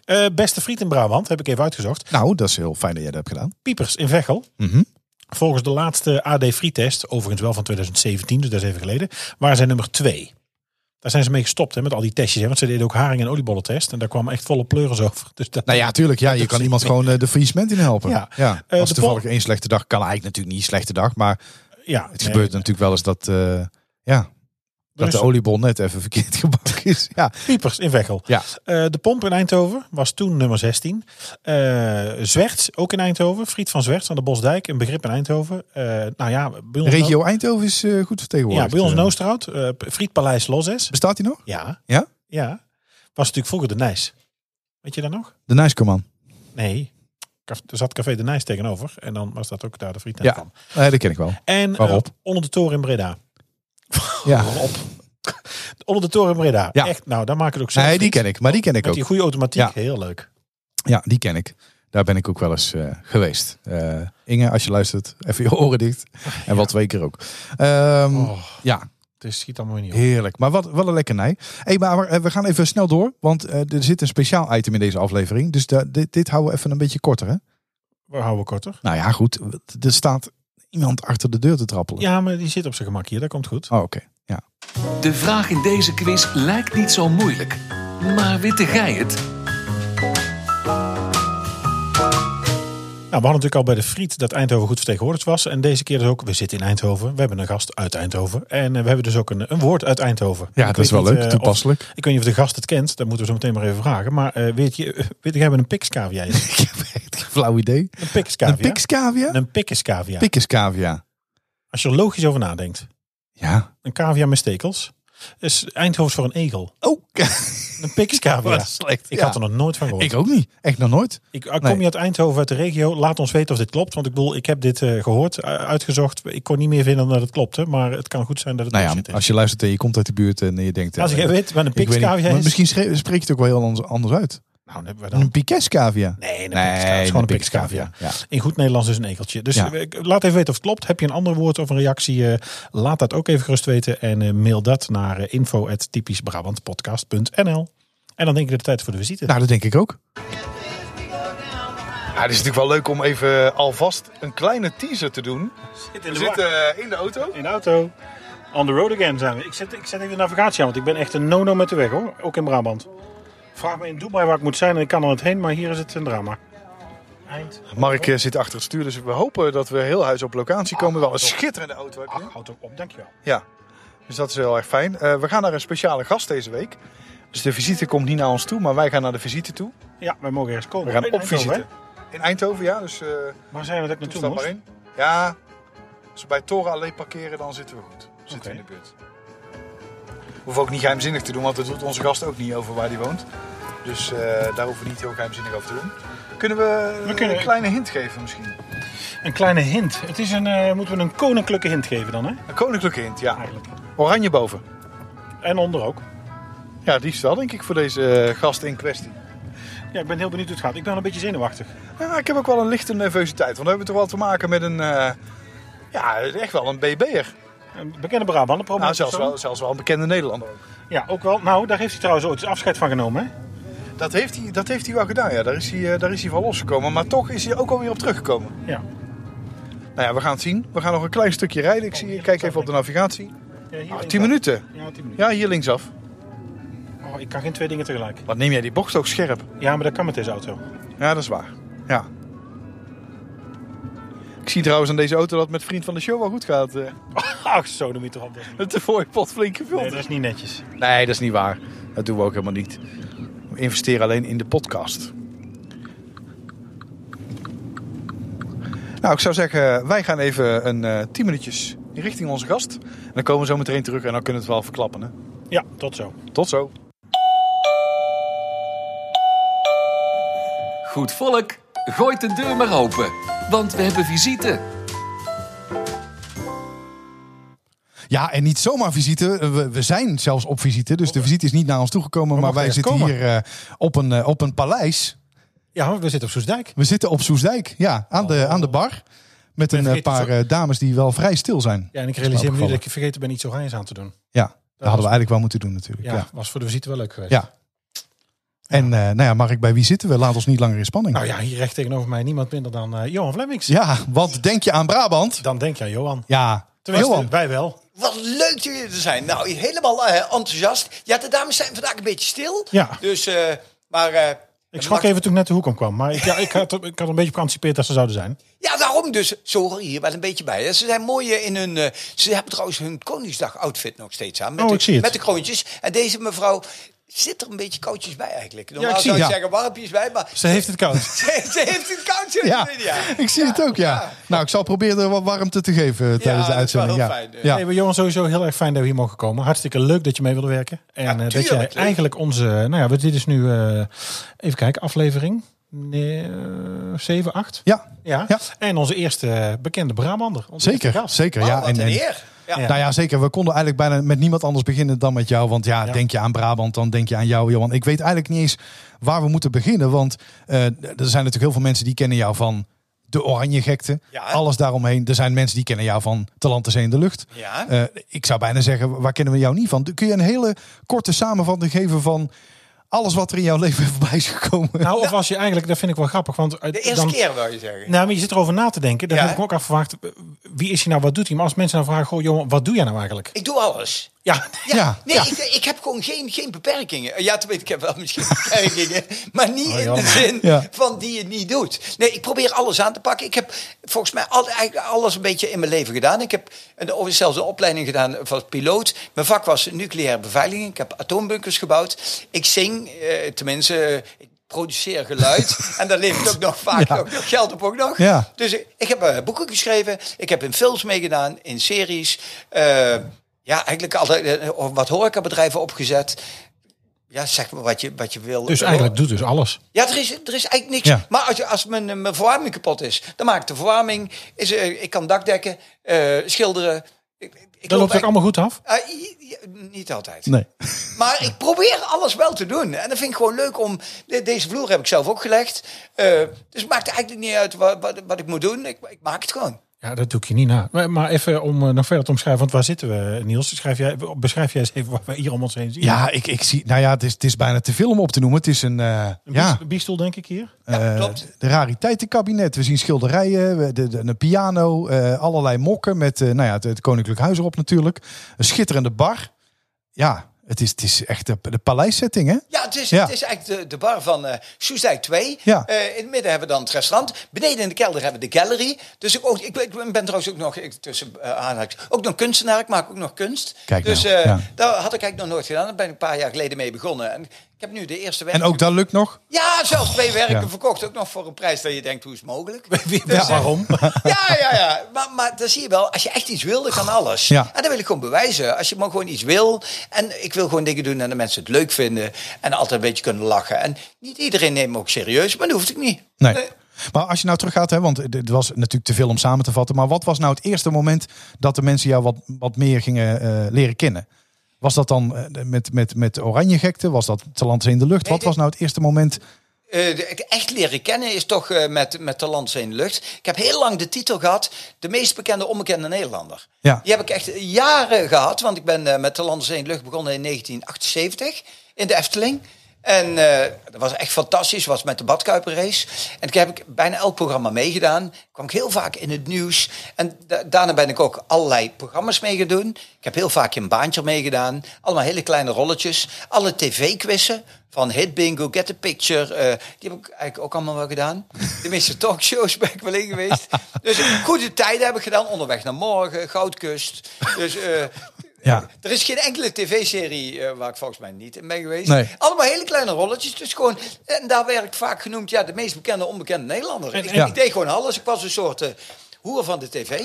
S2: Eh, beste friet in Brabant, heb ik even uitgezocht.
S3: Nou, dat is heel fijn dat jij dat hebt gedaan.
S2: Piepers in Veghel.
S3: Mhm.
S2: Volgens de laatste AD Frietest, overigens wel van 2017, dus dat is even geleden, waren zij nummer twee. Daar zijn ze mee gestopt hè, met al die testjes. Hè, want ze deden ook haring- en oliebollentest. En daar kwamen echt volle pleuris over. Dus dat,
S3: Nou ja, tuurlijk. Ja, je kan iemand gewoon eh, de faillissement in helpen.
S2: Ja.
S3: Ja.
S2: Eh,
S3: Als
S2: de
S3: toevallig
S2: pol-
S3: één slechte dag kan eigenlijk natuurlijk niet een slechte dag. Maar
S2: ja,
S3: het gebeurt natuurlijk wel eens dat, eh, ja, dat de oliebol net even verkeerd gebakken is. Ja,
S2: Piepers in Veghel.
S3: Ja.
S2: Eh, de pomp in Eindhoven was toen nummer 16. Eh Zwerts, ook in Eindhoven. Friet van Zwerts aan de Bosdijk, een begrip in Eindhoven. Eh, nou ja, bij ons,
S3: regio Eindhoven is eh, goed
S2: ja,
S3: vertegenwoordigd.
S2: bij ons
S3: Eh,
S2: in Oosterhout. eh, Frietpaleis Lozes.
S3: Bestaat die nog?
S2: Ja.
S3: Ja?
S2: Ja. Was natuurlijk vroeger de Nijs. Weet je dat nog?
S3: De Nijskerman.
S2: Nee. Kaf- Er zat Café de Nijs tegenover. En dan was dat ook daar de friet
S3: Ja.
S2: van.
S3: Nee, dat ken ik wel.
S2: En eh,
S3: Waarop?
S2: onder de toren in Breda. Oh,
S3: Ja.
S2: Onder de toren in Breda.
S3: Ja.
S2: Echt, nou, daar maak ik het ook zo.
S3: Nee, die ken ik. Maar die ken ik
S2: Met
S3: ook.
S2: die goede automatiek.
S3: Ja.
S2: Heel leuk.
S3: Ja, die ken ik. Daar ben ik ook wel eens eh, geweest. Eh, Inge, als je luistert, even je oren dicht. En wel twee keer ook. Ehm,
S2: Oh,
S3: Ja,
S2: het is- schiet allemaal weer niet op.
S3: heerlijk. Maar wat, wat een lekkernij. Hey, maar eh, we gaan even snel door, want eh, er zit een speciaal item in deze aflevering. Dus da- dit, dit houden we even een beetje korter, hè?
S2: We houden korter.
S3: Nou ja, goed. Er staat iemand achter de deur te trappelen.
S2: Ja, maar die zit op zijn gemak hier. Dat komt goed.
S3: Oh, oké. Ja.
S1: De vraag in deze quiz lijkt niet zo moeilijk. Maar witte gij het?
S2: Nou, we hadden natuurlijk al bij de friet dat Eindhoven goed vertegenwoordigd was. En deze keer dus ook, we zitten in Eindhoven. We hebben een gast uit Eindhoven. En eh, we hebben dus ook een, een woord uit Eindhoven.
S3: Ja,
S2: Ik
S3: dat is
S2: weet
S3: wel
S2: niet,
S3: leuk.
S2: eh, of-
S3: Toepasselijk.
S2: Ik weet niet of de gast het kent, dat moeten we zo meteen maar even vragen. Maar eh, weet je, eh, weet ik hebben een pikskavia. is.
S3: Ik heb echt geen flauw idee.
S2: Een
S3: Een
S2: pikskavia.
S3: pikskavia?
S2: Een pik is cavia.
S3: Pikkiskavia.
S2: Als je er logisch over nadenkt.
S3: Ja.
S2: Een cavia met stekels. Is Eindhoven voor een egel.
S3: Oh,
S2: Een pik is cavia.
S3: wat slecht.
S2: Ik
S3: Ja.
S2: had er nog nooit van gehoord.
S3: Ik ook niet. Echt nog nooit.
S2: Ik, eh, kom
S3: Nee.
S2: je uit Eindhoven, uit de regio? Laat ons weten of dit klopt. Want ik bedoel, ik heb dit eh, gehoord, eh, uitgezocht. Ik kon niet meer vinden dat het klopte. Maar het kan goed zijn dat het
S3: Nou
S2: bullshit
S3: ja,
S2: is.
S3: als je luistert en je komt uit de buurt en je denkt... eh,
S2: Als ik weet wat een
S3: Ik weet niet,
S2: pikskavia
S3: maar
S2: is.
S3: misschien Hmm. schre- spreek je het ook wel heel anders, anders uit.
S2: Nou, dan hebben we
S3: Een
S2: dan...
S3: pikeskavia.
S2: Nee, een pikskavia. is gewoon een pikskavia.
S3: Ja.
S2: In goed Nederlands is een ekeltje. Dus
S3: Ja.
S2: eh, laat even weten of het klopt. Heb je een ander woord of een reactie? eh, laat dat ook even gerust weten. En eh, mail dat naar eh, info.typischbrabantpodcast.nl En dan denk ik dat het tijd is voor de visite.
S3: Nou, dat denk ik ook. het is natuurlijk wel leuk om even alvast een kleine teaser te doen. eh,
S2: in
S3: in de auto.
S2: in de auto. On the road again zijn we. Ik zet, ik zet even de navigatie aan, want ik ben echt een no-no met de weg hoor. Ook in Brabant. Vraag me in Dubai waar ik moet zijn en ik kan er niet heen, maar hier is het een drama. Eind.
S3: Mark eh, zit achter het stuur, dus we hopen dat we heel huis op locatie komen. Wel een schitterende auto heb je.
S2: Ach, houd ook op, dankjewel.
S3: Ja, dus dat is heel erg fijn. Eh, we gaan naar een speciale gast deze week. Dus de visite komt niet naar ons toe, maar wij gaan naar de visite toe.
S2: Ja, wij mogen ergens komen.
S3: We gaan
S2: In
S3: op
S2: Eindhoven,
S3: visite. In Eindhoven, ja, dus... eh,
S2: hè? Waar zijn we dat ik naartoe
S3: Stap
S2: moest?
S3: maar in. Ja, als we bij Toren alleen parkeren, dan zitten we goed. Dan Zitten
S2: Oké.
S3: we in de buurt. Hoef ook niet geheimzinnig te doen, want dat doet onze gast ook niet over waar hij woont. Dus eh, daar hoeven we niet heel geheimzinnig over te doen. Kunnen we,
S2: We kunnen-
S3: een kleine hint geven misschien?
S2: Een kleine hint. Het is een, eh, moeten we een koninklijke hint geven dan, hè?
S3: Een koninklijke hint, ja.
S2: Eigenlijk.
S3: Oranje boven.
S2: En onder ook.
S3: Ja, die is wel denk ik voor deze eh, gast in kwestie.
S2: Ja, ik ben heel benieuwd hoe het gaat. Ik ben al een beetje zenuwachtig. Eh,
S3: Ja, ik heb ook wel een lichte nervositeit, want we hebben toch wel te maken met een... eh, ja, echt wel een BB'er.
S2: Een bekende Brabant, een
S3: Nou, zelfs wel, zelfs wel een bekende Nederlander ook.
S2: Ja, ook wel. Nou, daar heeft hij trouwens ooit afscheid van genomen, hè?
S3: Dat heeft, hij, dat heeft hij wel gedaan, ja. Daar is, hij, eh, daar is hij van losgekomen. Maar toch is hij ook alweer op teruggekomen.
S2: Ja.
S3: Nou ja, we gaan het zien. We gaan nog een klein stukje rijden. Ik, zie, ik kijk even op de navigatie.
S2: ja hier
S3: Ah,
S2: linksaf.
S3: 10 minuten.
S2: Ja, 10 minuten.
S3: Ja, hier linksaf.
S2: Oh, ik kan geen twee dingen tegelijk.
S3: Wat neem jij die bocht ook scherp?
S2: Ja, maar dat kan met deze auto.
S3: Ja, dat is waar. Ja. zie trouwens aan deze auto dat het met vriend van de show wel goed gaat. eh.
S2: Ach, zo de mieterhand.
S3: Het mooie pot flink gevuld.
S2: Nee,
S3: is.
S2: dat is niet netjes.
S3: Nee, dat is niet waar. Dat doen we ook helemaal niet. We investeren alleen in de podcast. Nou, ik zou zeggen, wij gaan even een eh 10 minuutjes richting onze gast. En dan komen we zo meteen terug en dan kunnen we het wel verklappen. Hè?
S2: Ja, tot zo.
S3: Tot zo.
S1: Goed volk, gooit de deur maar open, want we hebben visite.
S3: Ja, en niet zomaar visite. Eh, We, we zijn zelfs op visite. Dus de visite is niet naar ons toegekomen. Maar
S2: mogen
S3: wij
S2: echt
S3: zitten
S2: komen.
S3: hier eh, op, een, eh, op een paleis.
S2: Ja, we zitten op Soesdijk.
S3: We zitten op Soesdijk. Ja, aan, de, aan de bar. Oh. Met een eh,
S2: vergeet
S3: paar eh, dames die wel vrij stil zijn.
S2: Ja, en ik realiseer me nu
S3: opgevallen.
S2: dat ik vergeten ben iets oranjes aan te doen.
S3: Ja, dat hadden we
S2: was-
S3: eigenlijk wel moeten doen natuurlijk.
S2: Ja,
S3: Ja.
S2: was voor de visite wel leuk geweest.
S3: Ja. En eh, nou ja, Mark, bij wie zitten we? Laat ons niet langer in spanning.
S2: Nou ja, hier recht tegenover mij niemand minder dan eh, Johan Flemmings.
S3: ja, want denk je aan Brabant?
S2: Dan denk je aan Johan.
S3: Ja,
S2: Tenminste,
S3: Johan.
S2: wij wel.
S6: Wat leuk dat jullie er zijn. Nou, helemaal eh, enthousiast. Ja, de dames zijn vandaag een beetje stil.
S2: Ja.
S6: Dus, eh, maar... eh,
S2: Ik schrok
S6: mag-
S2: even toen ik net de hoek om kwam. Maar ik, ja, ik, had, ik had een beetje geanticipeerd dat ze zouden zijn.
S6: Ja, daarom dus. Ze horen hier wel een beetje bij. hè. Ze zijn mooi eh, in hun... eh, ze hebben trouwens hun Koningsdag-outfit nog steeds aan. Met,
S2: Oh,
S6: de,
S2: ik zie het.
S6: met de kroontjes. En deze mevrouw zit er een beetje koudjes bij eigenlijk. Normaal
S2: ik zie
S6: zou ik
S3: het, ja.
S6: zeggen warmpjes bij, maar...
S2: Ze heeft het koud.
S6: Ze, ze heeft het koudje,
S3: Ja,
S6: Lydia.
S3: ik zie het ook, ja. Nou, ik zal proberen er wat warmte te geven eh, tijdens de
S6: dat is wel
S3: uitzending.
S6: heel
S3: ja.
S6: fijn, eh.
S3: ja.
S2: Nee, maar Johan, sowieso heel erg fijn dat we hier mogen komen. Hartstikke leuk dat je mee wilde werken. En eh, dat jij
S6: tuurlijk, leuk.
S2: eigenlijk onze... Nou ja, dit is nu... eh, even kijken, aflevering... Nee, eh, 7, 8.
S3: ja,
S2: Ja.
S3: Ja.
S2: En onze eerste eh, bekende Brabander. Onze eerste
S3: zeker.
S2: gast.
S3: zeker
S6: Oh,
S3: ja.
S6: wat
S3: En-
S6: een
S3: en-
S6: eer. Ja.
S2: Ja.
S6: Ja.
S3: Nou ja, zeker. We konden eigenlijk bijna met niemand anders beginnen dan met jou. Want ja,
S2: Ja.
S3: denk je aan Brabant, dan denk je aan jou, Johan. Ik weet eigenlijk niet eens waar we moeten beginnen. Want eh, er zijn natuurlijk heel veel mensen die kennen jou van de oranje gekte.
S6: Ja.
S3: Alles daaromheen. Er zijn mensen die kennen jou van Talent de Zee in de Lucht.
S6: Ja.
S3: Eh, ik zou bijna zeggen, waar kennen we jou niet van? Kun je een hele korte samenvatting geven van alles wat er in jouw leven voorbij is gekomen?
S2: Nou, of als je eigenlijk... Dat vind ik wel grappig. Want
S6: De
S2: eh,
S6: eerste
S2: dan,
S6: keer, wil je zeggen.
S2: Nou, maar je zit erover na te denken. Dan
S6: Ja.
S2: heb ik me ook afgevraagd, eh, wie is hij nou, wat doet hij? Maar als mensen dan vragen, goh Johan, wat doe jij nou eigenlijk?
S6: Ik doe alles.
S2: Ja,
S6: Ja,
S3: Ja,
S6: nee,
S3: ja.
S6: Ik, ik heb gewoon geen, geen beperkingen. Ja, te weten, ik heb wel misschien beperkingen, maar niet in
S2: jammer.
S6: de zin
S3: Oh, Ja.
S6: van die je niet doet. Nee, ik probeer alles aan te pakken. Ik heb volgens mij al, eigenlijk alles een beetje in mijn leven gedaan. Ik heb een, of zelfs een opleiding gedaan van piloot. Mijn vak was nucleaire beveiliging. Ik heb atoombunkers gebouwd. Ik zing, eh, tenminste, eh, ik produceer geluid. en daar levert ook nog vaak
S3: Ja.
S6: ook nog geld op ook nog.
S3: Ja.
S6: Dus ik, ik heb eh, boeken geschreven, ik heb in films meegedaan, in series. eh, ja, eigenlijk altijd eh, wat horecabedrijven opgezet. Ja, zeg maar wat je, wat je wil.
S2: dus eigenlijk doet dus alles.
S6: Ja, er is, er is eigenlijk niks.
S3: Ja.
S6: Maar als, je- als mijn, eh, mijn verwarming kapot is, dan maak ik de verwarming. Is, eh, ik kan dakdekken, eh, schilderen. Ik, ik- ik
S2: Dat
S6: loop
S2: loopt ook allemaal goed af.
S6: eigenlijk- Ah, i- i- niet altijd.
S3: Nee.
S6: Maar ik probeer alles wel te doen. En dat vind ik gewoon leuk om... de- Deze vloer heb ik zelf ook gelegd. Eh, dus het maakt eigenlijk niet uit wat, wat, wat ik moet doen. Ik, ik maak het gewoon.
S2: Ja, dat doe ik je niet na. Maar, maar even om eh, nog verder te omschrijven, want waar zitten we, Niels? Schrijf jij, beschrijf jij eens even wat we hier om ons heen zien.
S3: Ja, ik, ik zie. Nou ja, het is, het is bijna te veel om op te noemen. Het is een. eh,
S2: Een
S3: ja.
S2: bies- biestoel denk ik hier.
S6: Ja,
S3: Eh,
S6: klopt.
S3: De rariteitenkabinet. We zien schilderijen, we- de, de, een piano, eh, allerlei mokken met eh, nou ja, het, het Koninklijk Huis erop natuurlijk. Een schitterende bar. Ja, het is, het is echt de, de paleissetting, hè?
S6: Ja, het is,
S3: Ja.
S6: Het is eigenlijk de, de bar van eh Soestdijk 2.
S3: Ja.
S6: Eh, in het midden hebben we dan het restaurant. Beneden in de kelder hebben we de gallery. Dus ik, ook, ik, ben- ik ben trouwens ook nog, ik, tussen eh, aanhalingstekens, ook nog kunstenaar. Ik maak ook nog kunst.
S3: Kijk
S6: dus
S3: nou,
S6: eh,
S3: ja.
S6: daar had ik eigenlijk nog nooit gedaan. Daar ben ik een paar jaar geleden mee begonnen. En ik heb nu de eerste werk.
S3: En ook dat lukt nog.
S6: Ja, zelfs twee werken
S3: ja.
S6: verkocht. Ook nog voor een prijs dat je denkt, hoe is het mogelijk? Dus, eh,
S2: Ja, waarom?
S6: Ja, ja, ja. Maar, maar dan zie je wel, als je echt iets wil, dan kan alles.
S3: Ja.
S6: En dat wil ik gewoon bewijzen. Als je maar gewoon iets wil. En ik wil gewoon dingen doen en de mensen het leuk vinden. En altijd een beetje kunnen lachen. En niet iedereen neemt me ook serieus, maar dat hoeft ik niet.
S3: Nee. Maar als je nou teruggaat, hè, want het het was natuurlijk te veel om samen te vatten. Maar wat was nou het eerste moment dat de mensen jou wat, wat meer gingen eh, leren kennen? Was dat dan eh, met, met, met oranje gekte? Was dat talent in de lucht? Wat
S6: dit-
S3: was nou het eerste moment?
S6: Eh, de- het echt leren kennen is toch eh, met, met Talent in de lucht. Ik heb heel lang de titel gehad, de meest bekende onbekende Nederlander.
S3: Ja.
S6: Die heb ik echt jaren gehad, want ik ben eh, met Talent in de lucht begonnen in 1978 in de Efteling. En eh, dat was echt fantastisch. was met de badkuiperrace. En toen heb ik bijna elk programma meegedaan. Kwam ik heel vaak in het nieuws. En da- daarna ben ik ook allerlei programma's mee gaan doen. Ik heb heel vaak een baantje meegedaan. Allemaal hele kleine rolletjes. Alle tv-quizzen. Van Hit Bingo, Get a Picture. eh, die heb ik eigenlijk ook allemaal wel gedaan. De meeste talkshows ben ik wel in geweest. Dus goede tijden heb ik gedaan. Onderweg naar morgen, Goudkust. Dus eh,
S3: Ja.
S6: er is geen enkele tv-serie eh, waar ik volgens mij niet in ben geweest.
S3: Nee.
S6: Allemaal hele kleine rolletjes. Dus gewoon, en daar werd ik vaak genoemd ja, de meest bekende onbekende Nederlander. Ik,
S3: ja.
S6: ik deed gewoon alles. Ik was een soort eh, hoer van de tv.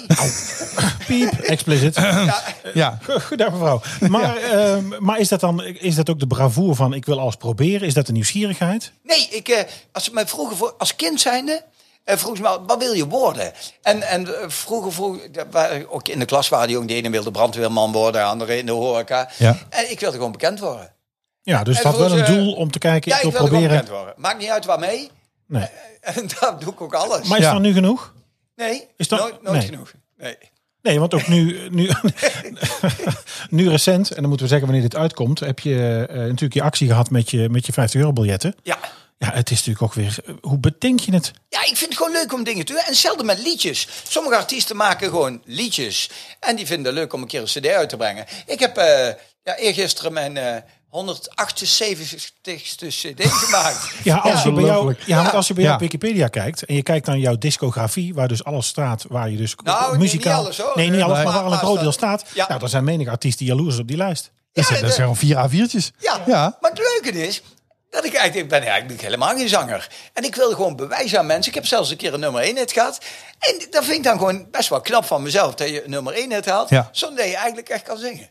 S2: Piep, explicit.
S6: ja,
S3: Ja.
S2: Goedendag mevrouw. Maar, ehm, maar is dat dan is dat ook de bravoer van ik wil alles proberen? Is dat de nieuwsgierigheid?
S6: nee, ik, eh, als ze mij vroegen, voor, als kind zijnde, eh vroegen ze me, wat wil je worden? En, en eh, vroeger, vroeg, daar waren- ook in de klas waren die jongen, de ene wilde brandweerman worden, de andere in de horeca.
S3: Ja.
S6: En ik wilde gewoon bekend worden.
S2: Ja, dus
S6: En
S2: het had wel
S6: voor
S2: een
S6: ze-
S2: doel om te kijken,
S6: ja,
S2: ik
S6: ik
S2: wil
S6: wilde gewoon
S2: proberen.
S6: bekend worden. Maakt niet uit waarmee.
S2: Nee.
S6: En daar doe ik ook alles.
S2: Maar is
S3: Ja.
S2: dat nu genoeg?
S6: Nee,
S2: Is dat-
S6: nooit, nooit
S2: nee.
S6: genoeg. Nee.
S2: Nee, want ook nu, nu, nu recent, en dan moeten we zeggen wanneer dit uitkomt, heb je eh, natuurlijk je actie gehad met je, met je 50 euro biljetten.
S6: Ja.
S2: Ja, het is natuurlijk ook weer, eh, hoe bedenk je het?
S6: ja, ik vind het gewoon leuk om dingen te doen. En zelden met liedjes. Sommige artiesten maken gewoon liedjes. En die vinden het leuk om een keer een cd uit te brengen. Ik heb eh ja, eergisteren mijn eh 178ste cd gemaakt.
S2: Ja, als je bij jou,
S3: ongelooflijk.
S2: ja, want als je bij jou
S3: Ja.
S2: op Wikipedia kijkt en je kijkt naar jouw discografie, waar dus alles staat, waar je dus
S6: Nou, nee,
S2: muzikaal...
S6: niet alles, hoor.
S2: Nee, niet
S6: Nee,
S2: alles,
S6: maar-
S2: maar waar al een
S6: maar
S2: groot deel
S6: staat-
S2: staat.
S6: Ja.
S2: Nou, dan zijn menig artiesten jaloers op die lijst.
S6: Ja,
S3: Dat
S6: de-
S3: zijn gewoon vier A4'tjes.
S6: Ja,
S3: ja.
S6: maar het leuke is dat ik eigenlijk ik ben eigenlijk helemaal geen zanger. En ik wil gewoon bewijzen aan mensen. Ik heb zelfs een keer een nummer 1 hit gehad. En dat vind ik dan gewoon best wel knap van mezelf dat je een nummer 1 hit haalt.
S3: Ja.
S6: Zonder dat je eigenlijk echt kan zingen.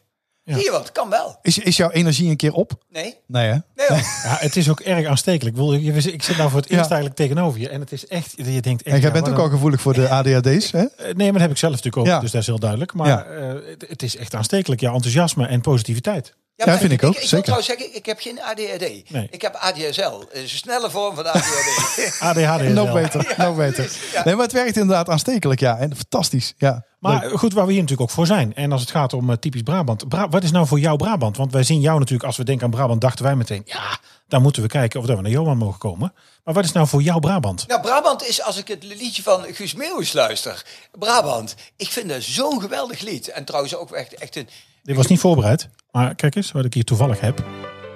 S6: Zie je wat? Kan wel.
S3: Is, is jouw energie een keer op?
S6: Nee?
S3: Nee, hè?
S6: Nee hoor.
S2: Ja, het is ook erg aanstekelijk. Ik bedoel, je- Ik zit nou voor het eerst
S3: Ja.
S2: eigenlijk tegenover je en het is echt, je denkt echt...
S3: En jij
S2: ja,
S3: bent
S2: wat
S3: ook
S2: een-
S3: al gevoelig voor de ADHD's, hè?
S2: Eh, Nee, maar dat heb ik zelf natuurlijk ook,
S3: Ja.
S2: dus dat is heel duidelijk. Maar
S3: Ja.
S2: eh, het, het is echt aanstekelijk, jouw enthousiasme en positiviteit.
S6: Ja,
S3: Ja,
S6: maar
S3: vind ik ook,
S6: Ik, wil
S3: zeker.
S6: trouwens zeggen, ik heb geen ADHD.
S2: Nee.
S6: Ik heb ADSL. Een snelle vorm van ADHD.
S2: ADHD
S3: Nog
S2: nog
S3: beter, nog beter. Nee, maar het werkt inderdaad aanstekelijk, ja. En fantastisch, ja.
S2: Maar goed, waar we hier natuurlijk ook voor zijn. En als het gaat om eh, typisch Brabant. Bra- wat is nou voor jou Brabant? Want wij zien jou natuurlijk, als we denken aan Brabant, dachten wij meteen... ja, dan moeten we kijken of dat we naar Johan mogen komen. Maar wat is nou voor jou Brabant?
S6: Nou, Brabant is, als ik het liedje van Guus Meeuwis luister... Brabant, ik vind dat zo'n geweldig lied. En trouwens ook echt, echt een...
S2: Dit was niet voorbereid, maar kijk eens wat ik hier toevallig heb.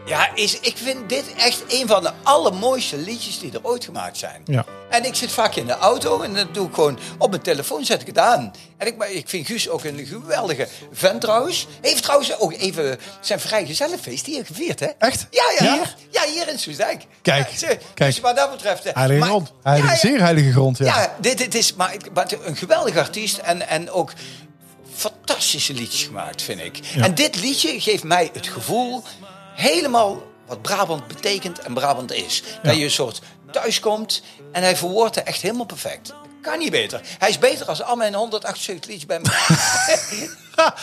S6: Ja, is, ik vind dit echt een van de allermooiste liedjes die er ooit gemaakt zijn.
S2: Ja.
S6: En ik zit vaak in de auto en dan doe ik gewoon op mijn telefoon zet ik het aan. En ik, maar ik vind Guus ook een geweldige vent trouwens. Heeft trouwens ook even zijn vrijgezellenfeest hier gevierd, hè?
S3: Echt?
S6: Ja, ja,
S3: Ja?
S6: Hier, ja hier in Soesdijk.
S3: Kijk,
S6: Ja, ze-
S3: kijk.
S6: Dus wat dat betreft... eh,
S2: Heilige
S6: maar-
S2: grond.
S3: Heilige,
S6: Ja, ja.
S3: Zeer heilige grond, ja.
S6: Ja, dit, dit is maar, het- maar het- een geweldig artiest en, en ook fantastische liedjes gemaakt, vind ik. En dit liedje geeft mij het gevoel helemaal wat Brabant betekent en Brabant is. Dat je een soort thuiskomt en hij verwoordt het echt helemaal perfect. Kan niet beter. Hij is beter als al mijn 178 liedjes bij me. ja,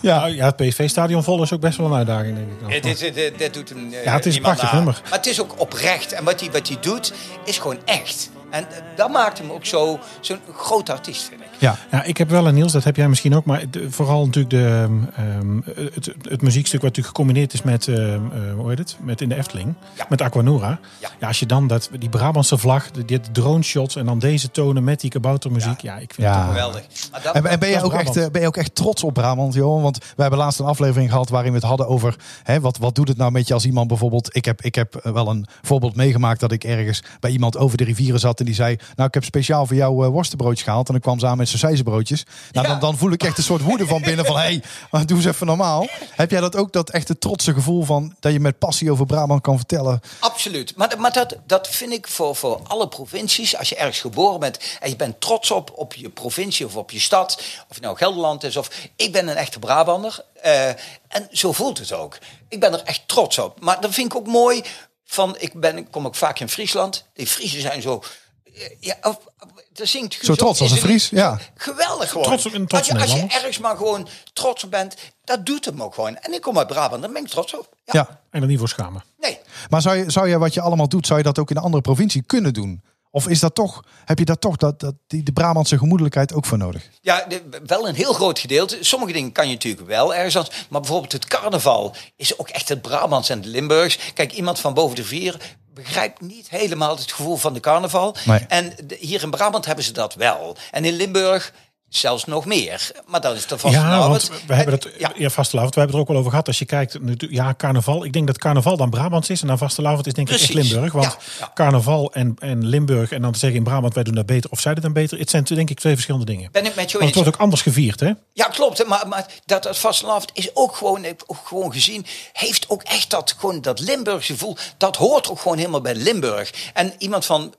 S2: Ja, Oh, ja het PSV-stadion vol is ook best wel een uitdaging, denk ik. dan.
S6: dit, dit, dit, dit doet hem eh,
S2: Ja, het is een
S6: niemand
S2: prachtig
S6: na.
S2: nummer.
S6: Maar het is ook oprecht. En wat hij, wat hij doet, is gewoon echt. En eh, dat maakt hem ook zo- zo'n groot artiest, vind ik.
S3: Ja.
S2: Ja, ik heb wel een Niels, dat heb jij misschien ook, maar de- vooral natuurlijk de, ehm, ehm, het, het muziekstuk wat natuurlijk gecombineerd is met, ehm, eh, hoe heet het, met in de Efteling,
S6: Ja.
S2: met Aquanura.
S6: Ja.
S2: Ja. als je dan dat, die Brabantse vlag, de- dit drone shots en dan deze tonen met die kaboutermuziek, ja, ik vind
S3: Ja.
S2: het toch wel-
S6: Geweldig. Maar dat-
S3: Ah. En, en ben, je
S2: Dat is
S3: ook echt,
S2: Brabant.
S3: eh, ben je ook echt trots op Brabant, Johan? Want we hebben laatst een aflevering gehad waarin we het hadden over... Hè, wat, wat doet het nou met je als iemand bijvoorbeeld... Ik heb, ik heb eh, wel een voorbeeld meegemaakt dat ik ergens bij iemand over de rivieren zat... en die zei, nou ik heb speciaal voor jou eh, worstenbroodjes gehaald. En dan kwam ze aan met sausijzenbroodjes. Nou,
S6: Ja.
S3: dan, dan voel ik echt een soort woede van binnen van... hé, hey, maar doe eens even normaal. Heb jij dat ook, dat echte trotse gevoel van... dat je met passie over Brabant kan vertellen?
S6: Absoluut. Maar, maar dat, dat vind ik voor, voor alle provincies. Als je ergens geboren bent en je bent trots op, op je provincie of op je stad. Of het nou Gelderland is of... Ik ben een echte Brabander. eh, en zo voelt het ook. Ik ben er echt trots op. Maar dat vind ik ook mooi. Van, ik ben, kom ook vaak in Friesland. Die Friesen zijn zo... eh, Ja, of- of- daar zingt Guus
S3: Zo
S6: ook
S3: trots als
S6: in
S3: een
S6: zijn lied.
S3: Fries, ja.
S6: Geweldig gewoon.
S2: Trots op- een trots
S6: als, je, als je
S2: Nederlander.
S6: ergens maar gewoon trots op bent, dat doet hem ook gewoon. En ik kom uit Brabant, daar ben ik trots op. Ja.
S3: Ja.
S2: En dan niet voor schamen.
S6: Nee.
S3: Maar zou je, zou je wat je allemaal doet, zou je dat ook in een andere provincie kunnen doen? Of is dat toch, heb je daar toch dat, dat, die, de Brabantse gemoedelijkheid ook voor nodig?
S6: Ja, de- wel een heel groot gedeelte. Sommige dingen kan je natuurlijk wel ergens anders. Maar bijvoorbeeld het carnaval is ook echt het Brabants en het Limburgs. Kijk, iemand van boven de vier begrijpt niet helemaal het gevoel van de carnaval.
S3: Nee.
S6: En de- hier in Brabant hebben ze dat wel. En in Limburg zelfs nog meer. Maar dat is de vaste
S2: ja,
S6: avond.
S2: want we hebben het,
S6: Nou, Ja.
S2: ja, vastelavond, we hebben het er ook al over gehad. Als je kijkt, nu- ja, carnaval. Ik denk dat carnaval dan Brabants is en dan vastelavond is denk ik echt
S6: Precies.
S2: Limburg. Want
S6: Ja, ja.
S2: carnaval en, en Limburg en dan te zeggen in Brabant wij doen dat beter of zij doen dat beter. Het zijn denk ik twee verschillende dingen.
S6: Ben ik met
S2: Want
S6: je
S2: het
S6: eens.
S2: wordt ook anders gevierd, hè?
S6: Ja, klopt. Maar, maar dat, dat vastelavond is ook gewoon, heb ook gewoon gezien. Heeft ook echt dat, gewoon dat Limburgse gevoel. Dat hoort ook gewoon helemaal bij Limburg. En iemand van.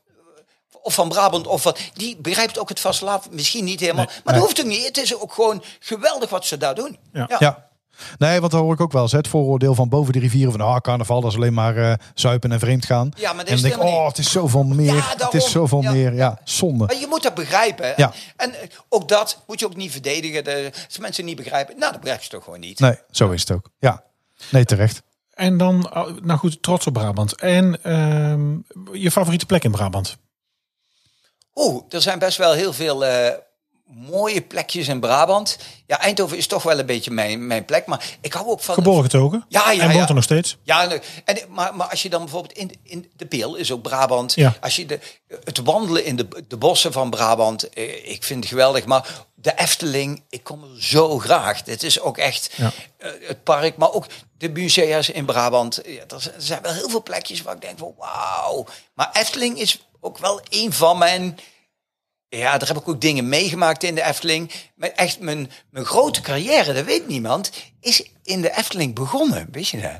S6: Of van Brabant of van. Die begrijpt ook het vastelavond misschien niet helemaal.
S2: Nee,
S6: maar dat
S3: nee.
S6: hoeft ook niet. Het is ook gewoon geweldig wat ze daar doen.
S2: Ja.
S3: Ja. Nee, want dat hoor ik ook wel eens. hè. Het vooroordeel van boven de rivieren van ah, carnaval, dat is alleen maar eh, zuipen en vreemd gaan.
S6: Ja, maar dat
S3: en
S6: is
S3: dan denk ik,
S6: helemaal
S3: oh,
S6: niet.
S3: het is zoveel meer.
S6: Ja,
S3: het is
S6: daarom.
S3: zoveel
S6: Ja.
S3: meer. Ja, zonde.
S6: Maar je moet dat begrijpen. hè.
S3: Ja.
S6: En eh, ook dat moet je ook niet verdedigen. De- Als mensen niet begrijpen, nou, dat begrijp je toch gewoon niet.
S3: Nee, zo is het ook. Ja, nee, terecht.
S2: En dan, oh, nou goed, trots op Brabant. En ehm, je favoriete plek in Brabant?
S6: Oeh, er zijn best wel heel veel eh, mooie plekjes in Brabant. Ja, Eindhoven is toch wel een beetje mijn, mijn plek. Maar ik hou ook van...
S2: Geboren getogen?
S6: Ja, ja,
S2: En woont
S6: ja.
S2: er nog steeds?
S6: Ja, nee. en, maar, maar als je dan bijvoorbeeld in, in de Peel is ook Brabant.
S2: Ja.
S6: Als je de, het wandelen in de, de bossen van Brabant, eh, ik vind het geweldig. Maar de Efteling, ik kom er zo graag. Het is ook echt
S2: Ja.
S6: eh, het park, maar ook de musea's in Brabant. Ja, er zijn- er zijn wel heel veel plekjes waar ik denk van wauw. Maar Efteling is ook wel een van mijn... Ja, daar heb ik ook dingen meegemaakt in de Efteling. Maar echt, mijn, mijn grote carrière, dat weet niemand, is in de Efteling begonnen. Weet je dat?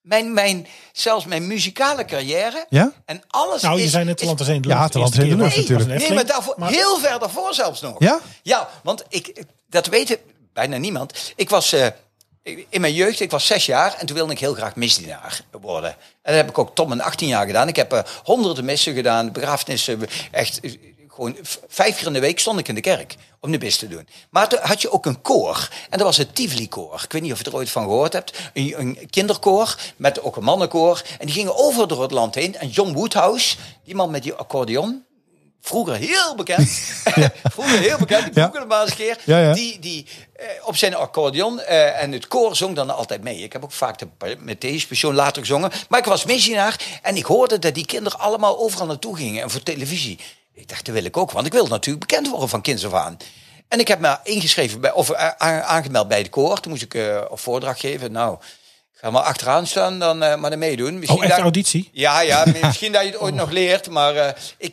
S6: Mijn, mijn, zelfs mijn muzikale carrière.
S3: Ja?
S6: En alles
S2: Nou,
S6: is...
S2: je zijn net
S6: is-
S2: te land in de
S3: Ja,
S2: lucht.
S3: te land
S2: Eerste
S3: in de
S2: keer was
S3: lucht
S2: het- was
S3: natuurlijk.
S2: een
S6: Nee, maar,
S2: Efteling.
S6: daarvoor, heel ver daarvoor zelfs nog.
S3: Ja?
S6: Ja, want ik, dat weet bijna niemand. Ik was eh, in mijn jeugd, ik was zes jaar en toen wilde ik heel graag misdienaar worden. En dat heb ik ook tot mijn 18 jaar gedaan. Ik heb eh, honderden missen gedaan, begrafenissen, echt eh, gewoon v- vijf keer in de week stond ik in de kerk om de mis te doen. Maar toen had je ook een koor en dat was het Tivoli koor. Ik weet niet of je er ooit van gehoord hebt. Een, een kinderkoor met ook een mannenkoor en die gingen over door het land heen. En John Woodhouse, die man met die accordeon, vroeger heel bekend. vroeger heel bekend, die
S3: Ja.
S6: vroeger maar eens een keer.
S3: Ja, ja.
S6: Die, die eh, op zijn accordeon eh, en het koor zong dan altijd mee. Ik heb ook vaak de Matthäus Persoon later gezongen. Maar ik was missionaar en ik hoorde dat die kinderen allemaal overal naartoe gingen. En voor televisie. Ik dacht, dat wil ik ook. Want ik wil natuurlijk bekend worden van kinds af aan. En ik heb me ingeschreven, bij, of eh, a- aangemeld bij het koor. Toen moest ik eh, een voordracht geven. Nou, ga maar achteraan staan, dan eh, maar dan meedoen.
S2: Oh, echt
S6: daar-
S2: auditie?
S6: ja, ja, misschien dat je het ooit nog leert, maar eh, ik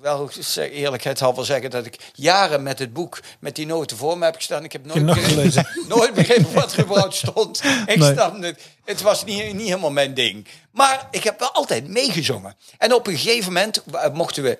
S6: wel eerlijkheid halve zeggen dat ik jaren met het boek, met die noten voor me heb gestaan. Ik heb nooit,
S2: nog
S6: begrepen,
S2: gelezen.
S6: nooit begrepen wat er überhaupt stond. Ik
S3: Nee.
S6: snap het. Het was niet, niet helemaal mijn ding. Maar ik heb wel altijd meegezongen. En op een gegeven moment eh, mochten we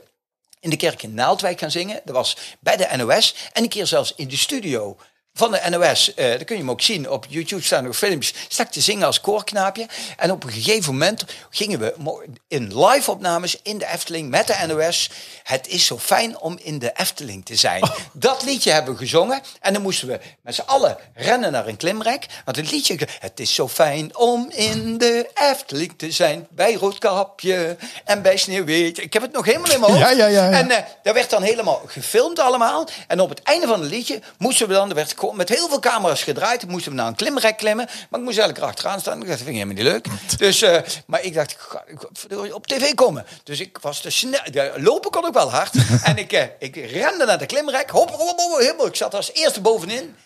S6: in de kerk in Naaldwijk gaan zingen. Dat was bij de NOS. En een keer zelfs in de studio van de NOS. Eh daar kun je hem ook zien. Op YouTube staan nog films. Sta ik te zingen als koorknaapje. En op een gegeven moment gingen we mo- in live opnames in de Efteling met de NOS. Het is zo fijn om in de Efteling te zijn. Dat liedje hebben we gezongen. En dan moesten we met z'n allen rennen naar een klimrek. Want het liedje... Het is zo fijn om in de Efteling te zijn. Bij Roodkapje en bij Sneeuwwitje. Ik heb het nog helemaal in mijn hoofd.
S3: Ja, ja, ja, ja.
S6: En eh, dat werd dan helemaal gefilmd allemaal. En op het einde van het liedje moesten we dan, er werd gewoon met heel veel camera's gedraaid, moesten we naar een klimrek klimmen. Maar ik moest eigenlijk erachteraan staan. Ik dacht, dat vind ik helemaal niet leuk. Dus, eh, maar ik dacht, ik ga ik ga verdorie op tv komen. Dus ik was te snel. de- Lopen kon ik wel hard. en ik, eh, ik rende naar de klimrek. Hop, hop, hop, hop, helemaal. Ik zat als eerste bovenin.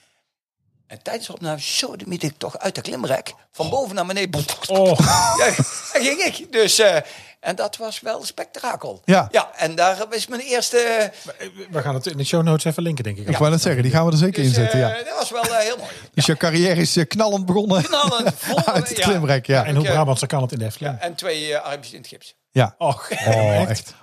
S6: En tijdens de opname, nou, zo de ik toch uit de klimrek. Van boven naar beneden.
S2: Oh,
S6: Ja, daar ging ik. Dus, eh, en dat was wel spektakel.
S3: Ja.
S6: ja. En daar is mijn eerste...
S2: we gaan het in de show notes even linken, denk ik.
S3: Ik wou net zeggen, die gaan we er zeker in
S6: Dus,
S3: zetten.
S6: eh,
S3: Ja.
S6: Dat was wel eh, heel mooi.
S3: Dus je carrière is eh, knallend begonnen
S6: Knallend vol,
S3: uit het
S6: ja.
S3: klimrek. Ja,
S2: En hoe
S6: Oké.
S2: Brabantse kan het in de Efteling?
S6: En twee eh, armpjes in het gips.
S3: ja.
S2: Och,
S3: Oh, echt.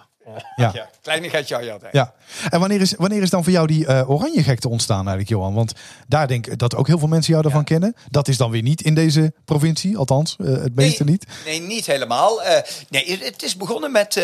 S3: Ja.
S6: Ja, kleinigheidje had je altijd.
S3: Ja, en wanneer is, wanneer is dan voor jou die eh, oranje gekte ontstaan eigenlijk, Johan? Want daar denk ik dat ook heel veel mensen jou daarvan kennen. Dat is dan weer niet in deze provincie, althans eh, het meeste
S6: nee,
S3: niet.
S6: Nee, niet helemaal. Eh, nee, het is begonnen met...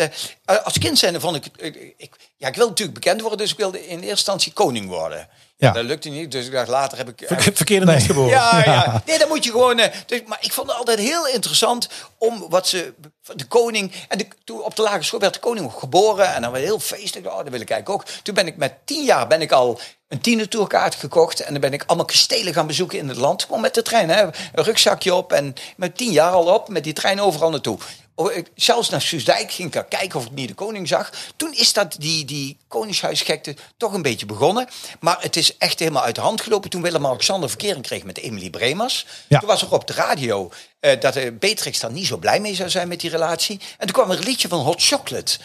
S6: eh, als kind zijnde vond ik, eh, ik... Ja, ik wilde natuurlijk bekend worden, dus ik wilde in eerste instantie koning worden.
S3: Ja.
S6: Dat lukte niet, dus ik dacht later heb ik...
S2: Ver- Verkeerde nee. geboren.
S6: Ja, ja. Nee, dan moet je gewoon. eh, dus, maar ik vond het altijd heel interessant om wat ze. De koning. En de, toen op de lagere school werd de koning geboren. En dan werd heel feestelijk. Oh, dat wil ik eigenlijk ook. Toen ben ik met tien jaar ben ik al een tienertourkaart gekocht. En dan ben ik allemaal kastelen gaan bezoeken in het land. Gewoon met de trein. Hè. Een rugzakje op. En met tien jaar al op. Met die trein overal naartoe. Oh, ik- Zelfs naar Soesdijk ging ik daar kijken of ik niet de koning zag. Toen is dat die, die koningshuisgekte toch een beetje begonnen. Maar het is echt helemaal uit de hand gelopen toen Willem-Alexander verkering kreeg met Emily Bremers.
S3: Ja.
S6: Toen was er op de radio eh, dat eh, Beatrix daar niet zo blij mee zou zijn met die relatie. En toen kwam er een liedje van Hot Chocolate.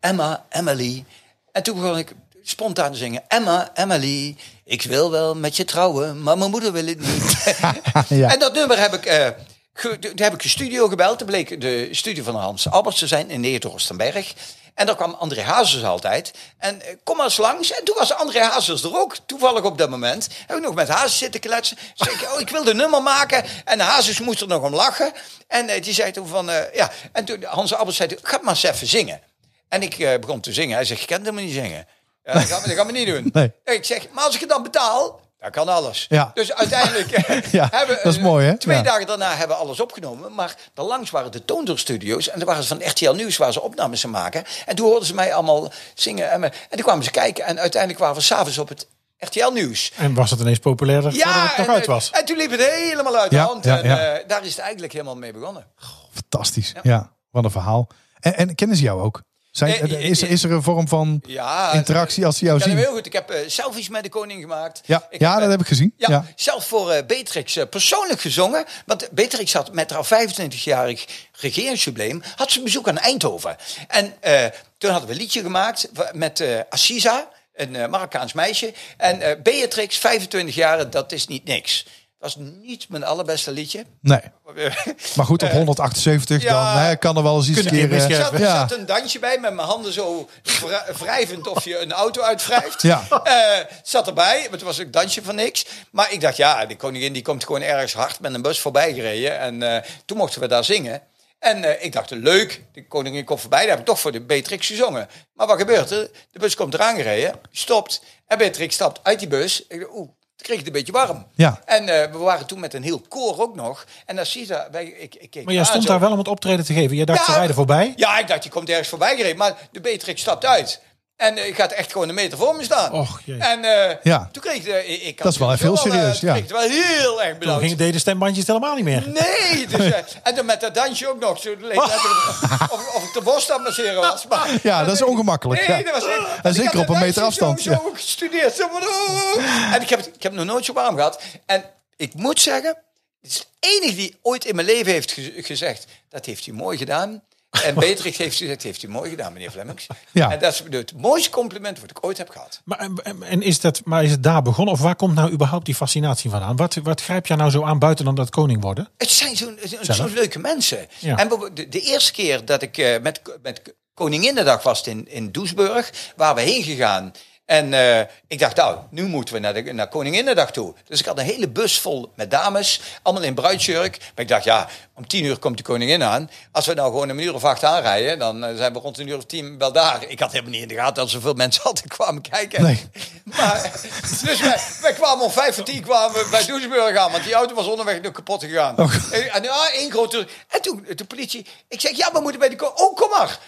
S6: Emma, Emily. En toen begon ik spontaan te zingen. Emma, Emily, ik wil wel met je trouwen, maar mijn moeder wil het niet.
S3: Ja.
S6: En dat nummer heb ik, eh ge- toen heb ik de studio gebeld. Dat bleek de studio van Hans Albers te zijn in Nederhorstenberg. En daar kwam André Hazes altijd. En eh, kom maar eens langs. En toen was André Hazes er ook, toevallig op dat moment. Heb ik nog met Hazes zitten kletsen. Zeg ik, oh, ik wilde een nummer maken. En Hazes moest er nog om lachen. En eh, die zei toen van, eh, ja. En toen Hans Albers zei, toen, ga het maar eens even zingen. En ik eh, begon te zingen. Hij zegt, je kent helemaal niet zingen. Ja, dat gaan we, dat gaan we niet doen.
S3: Nee.
S6: Ik zeg, maar als ik het dan betaal, dan kan alles.
S3: Ja.
S6: Dus uiteindelijk eh,
S3: Ja,
S6: hebben eh,
S3: dat is mooi, hè?
S6: Twee
S3: Ja.
S6: dagen daarna hebben we alles opgenomen. Maar daarlangs waren de Toondorstudio's. En er waren ze van RTL Nieuws waar ze opnames aan maken. En toen hoorden ze mij allemaal zingen. En, me- en toen kwamen ze kijken. En uiteindelijk waren we s'avonds op het RTL Nieuws.
S2: En was dat ineens populairder voordat het nog
S6: en, eh,
S2: uit was?
S6: en toen liep het helemaal uit
S3: Ja,
S6: de hand.
S3: ja,
S6: en
S3: ja.
S6: eh, daar is het eigenlijk helemaal mee begonnen.
S3: Fantastisch. Ja. wat een verhaal. En, en kennen ze jou ook? Zijn,
S6: Eh, eh,
S3: is, is er een vorm van
S6: Ja,
S3: interactie als ze jou
S6: ik ken hem
S3: zien?
S6: heel goed. Ik heb eh, selfies met de koning gemaakt.
S3: Ja,
S6: Ik
S3: ja
S6: eh,
S3: dat heb ik gezien.
S6: Ja,
S3: Ja.
S6: zelf voor eh, Beatrix eh, persoonlijk gezongen. Want Beatrix had met haar 25-jarig regeringsjubileum... had ze bezoek aan Eindhoven. En eh, toen hadden we een liedje gemaakt wa- met eh Assisa, een eh, Marokkaans meisje. En eh, Beatrix, 25 jaar, dat is niet niks. Dat was niet mijn allerbeste liedje. eh,
S3: Nee. Maar goed, op 178
S6: ja.
S3: dan hè, kan er wel eens iets
S2: Kunnen
S3: keer...
S2: we
S3: eh,
S6: Er zat, er
S3: ja.
S6: zat een dansje bij met mijn handen zo wra- wrijvend of je een auto uitwrijft.
S3: Ja.
S6: Eh, zat erbij, want het was een dansje van niks. Maar ik dacht, ja, die koningin die komt gewoon ergens hard met een bus voorbij gereden. En eh, toen mochten we daar zingen. En eh, ik dacht, leuk, de koningin komt voorbij. Daar heb ik toch voor de Beatrix gezongen. Maar wat gebeurt er? De bus komt eraan gereden, stopt. En Beatrix stapt uit die bus. Ik dacht, oeh, toen kreeg het een beetje warm.
S3: Ja.
S6: En eh, we waren toen met een heel koor ook nog. En daar zie je, dat- wij- ik, ik keek
S2: Maar jij
S6: aan
S2: stond
S6: zo.
S2: daar wel om het optreden te geven. Jij dacht, ze rijden voorbij.
S6: Ja, ik dacht, je komt ergens voorbij gereden. Maar de Beatrix stapt uit. En eh, gaat echt gewoon een meter voor me staan.
S2: Och, jee.
S6: En eh,
S3: Ja.
S6: toen kreeg ik... de- ik, ik had
S3: Dat is wel even heel
S6: eh,
S3: serieus,
S6: toen
S3: ja.
S6: kreeg ik het wel heel erg
S2: Dan
S6: benauwd.
S2: ging, deden stembandjes het helemaal niet meer.
S6: Nee! Dus, eh, en dan met dat dansje ook nog. Zo, het leek net of, of, of ik de borst aan het masseren was. Maar,
S3: Ja, dat is ongemakkelijk.
S6: Nee,
S3: ja.
S6: dat was echt-
S3: En zeker
S6: ik had
S3: op een
S6: dat
S3: meter
S6: dansje zo-
S3: afstand,
S6: Zo,
S3: ja.
S6: gestudeerd. Zo van, oh. En ik heb, het- ik heb nog nooit zo warm gehad. En ik moet zeggen, het is de enige die ooit in mijn leven heeft ge- gezegd, dat heeft hij mooi gedaan. En Beatrix heeft gezegd, heeft hij mooi gedaan, meneer Flemmings.
S3: Ja.
S6: En dat is het mooiste compliment wat ik ooit heb gehad.
S2: Maar, en- en is dat, maar is het daar begonnen? Of waar komt nou überhaupt die fascinatie vandaan? Wat, wat grijp jij nou zo aan buiten dan dat koning worden?
S6: Het zijn zo'n zo'n- zo'n leuke mensen.
S2: Ja.
S6: En bijvoorbeeld de, de eerste keer dat ik eh, met, met Koninginnedag was het in, in Doesburg, waar we heen gegaan. En eh, ik dacht, nou, nu moeten we naar, de, naar Koninginnedag toe. Dus ik had een hele bus vol met dames, allemaal in bruidsjurk. Maar ik dacht, ja, om tien uur komt de koningin aan. Als we nou gewoon een uur of acht aanrijden, dan eh, zijn we rond een uur of tien wel daar. Ik had helemaal niet in de gaten dat zoveel mensen altijd kwamen kijken.
S3: Nee.
S6: Maar, dus wij, wij kwamen om vijf voor tien kwamen we bij Doesburg aan, want die auto was onderweg nog kapot gegaan. En, en ja, één grote... En toen de politie... Ik zeg, ja, we moeten bij de... ko- Oh, kom maar.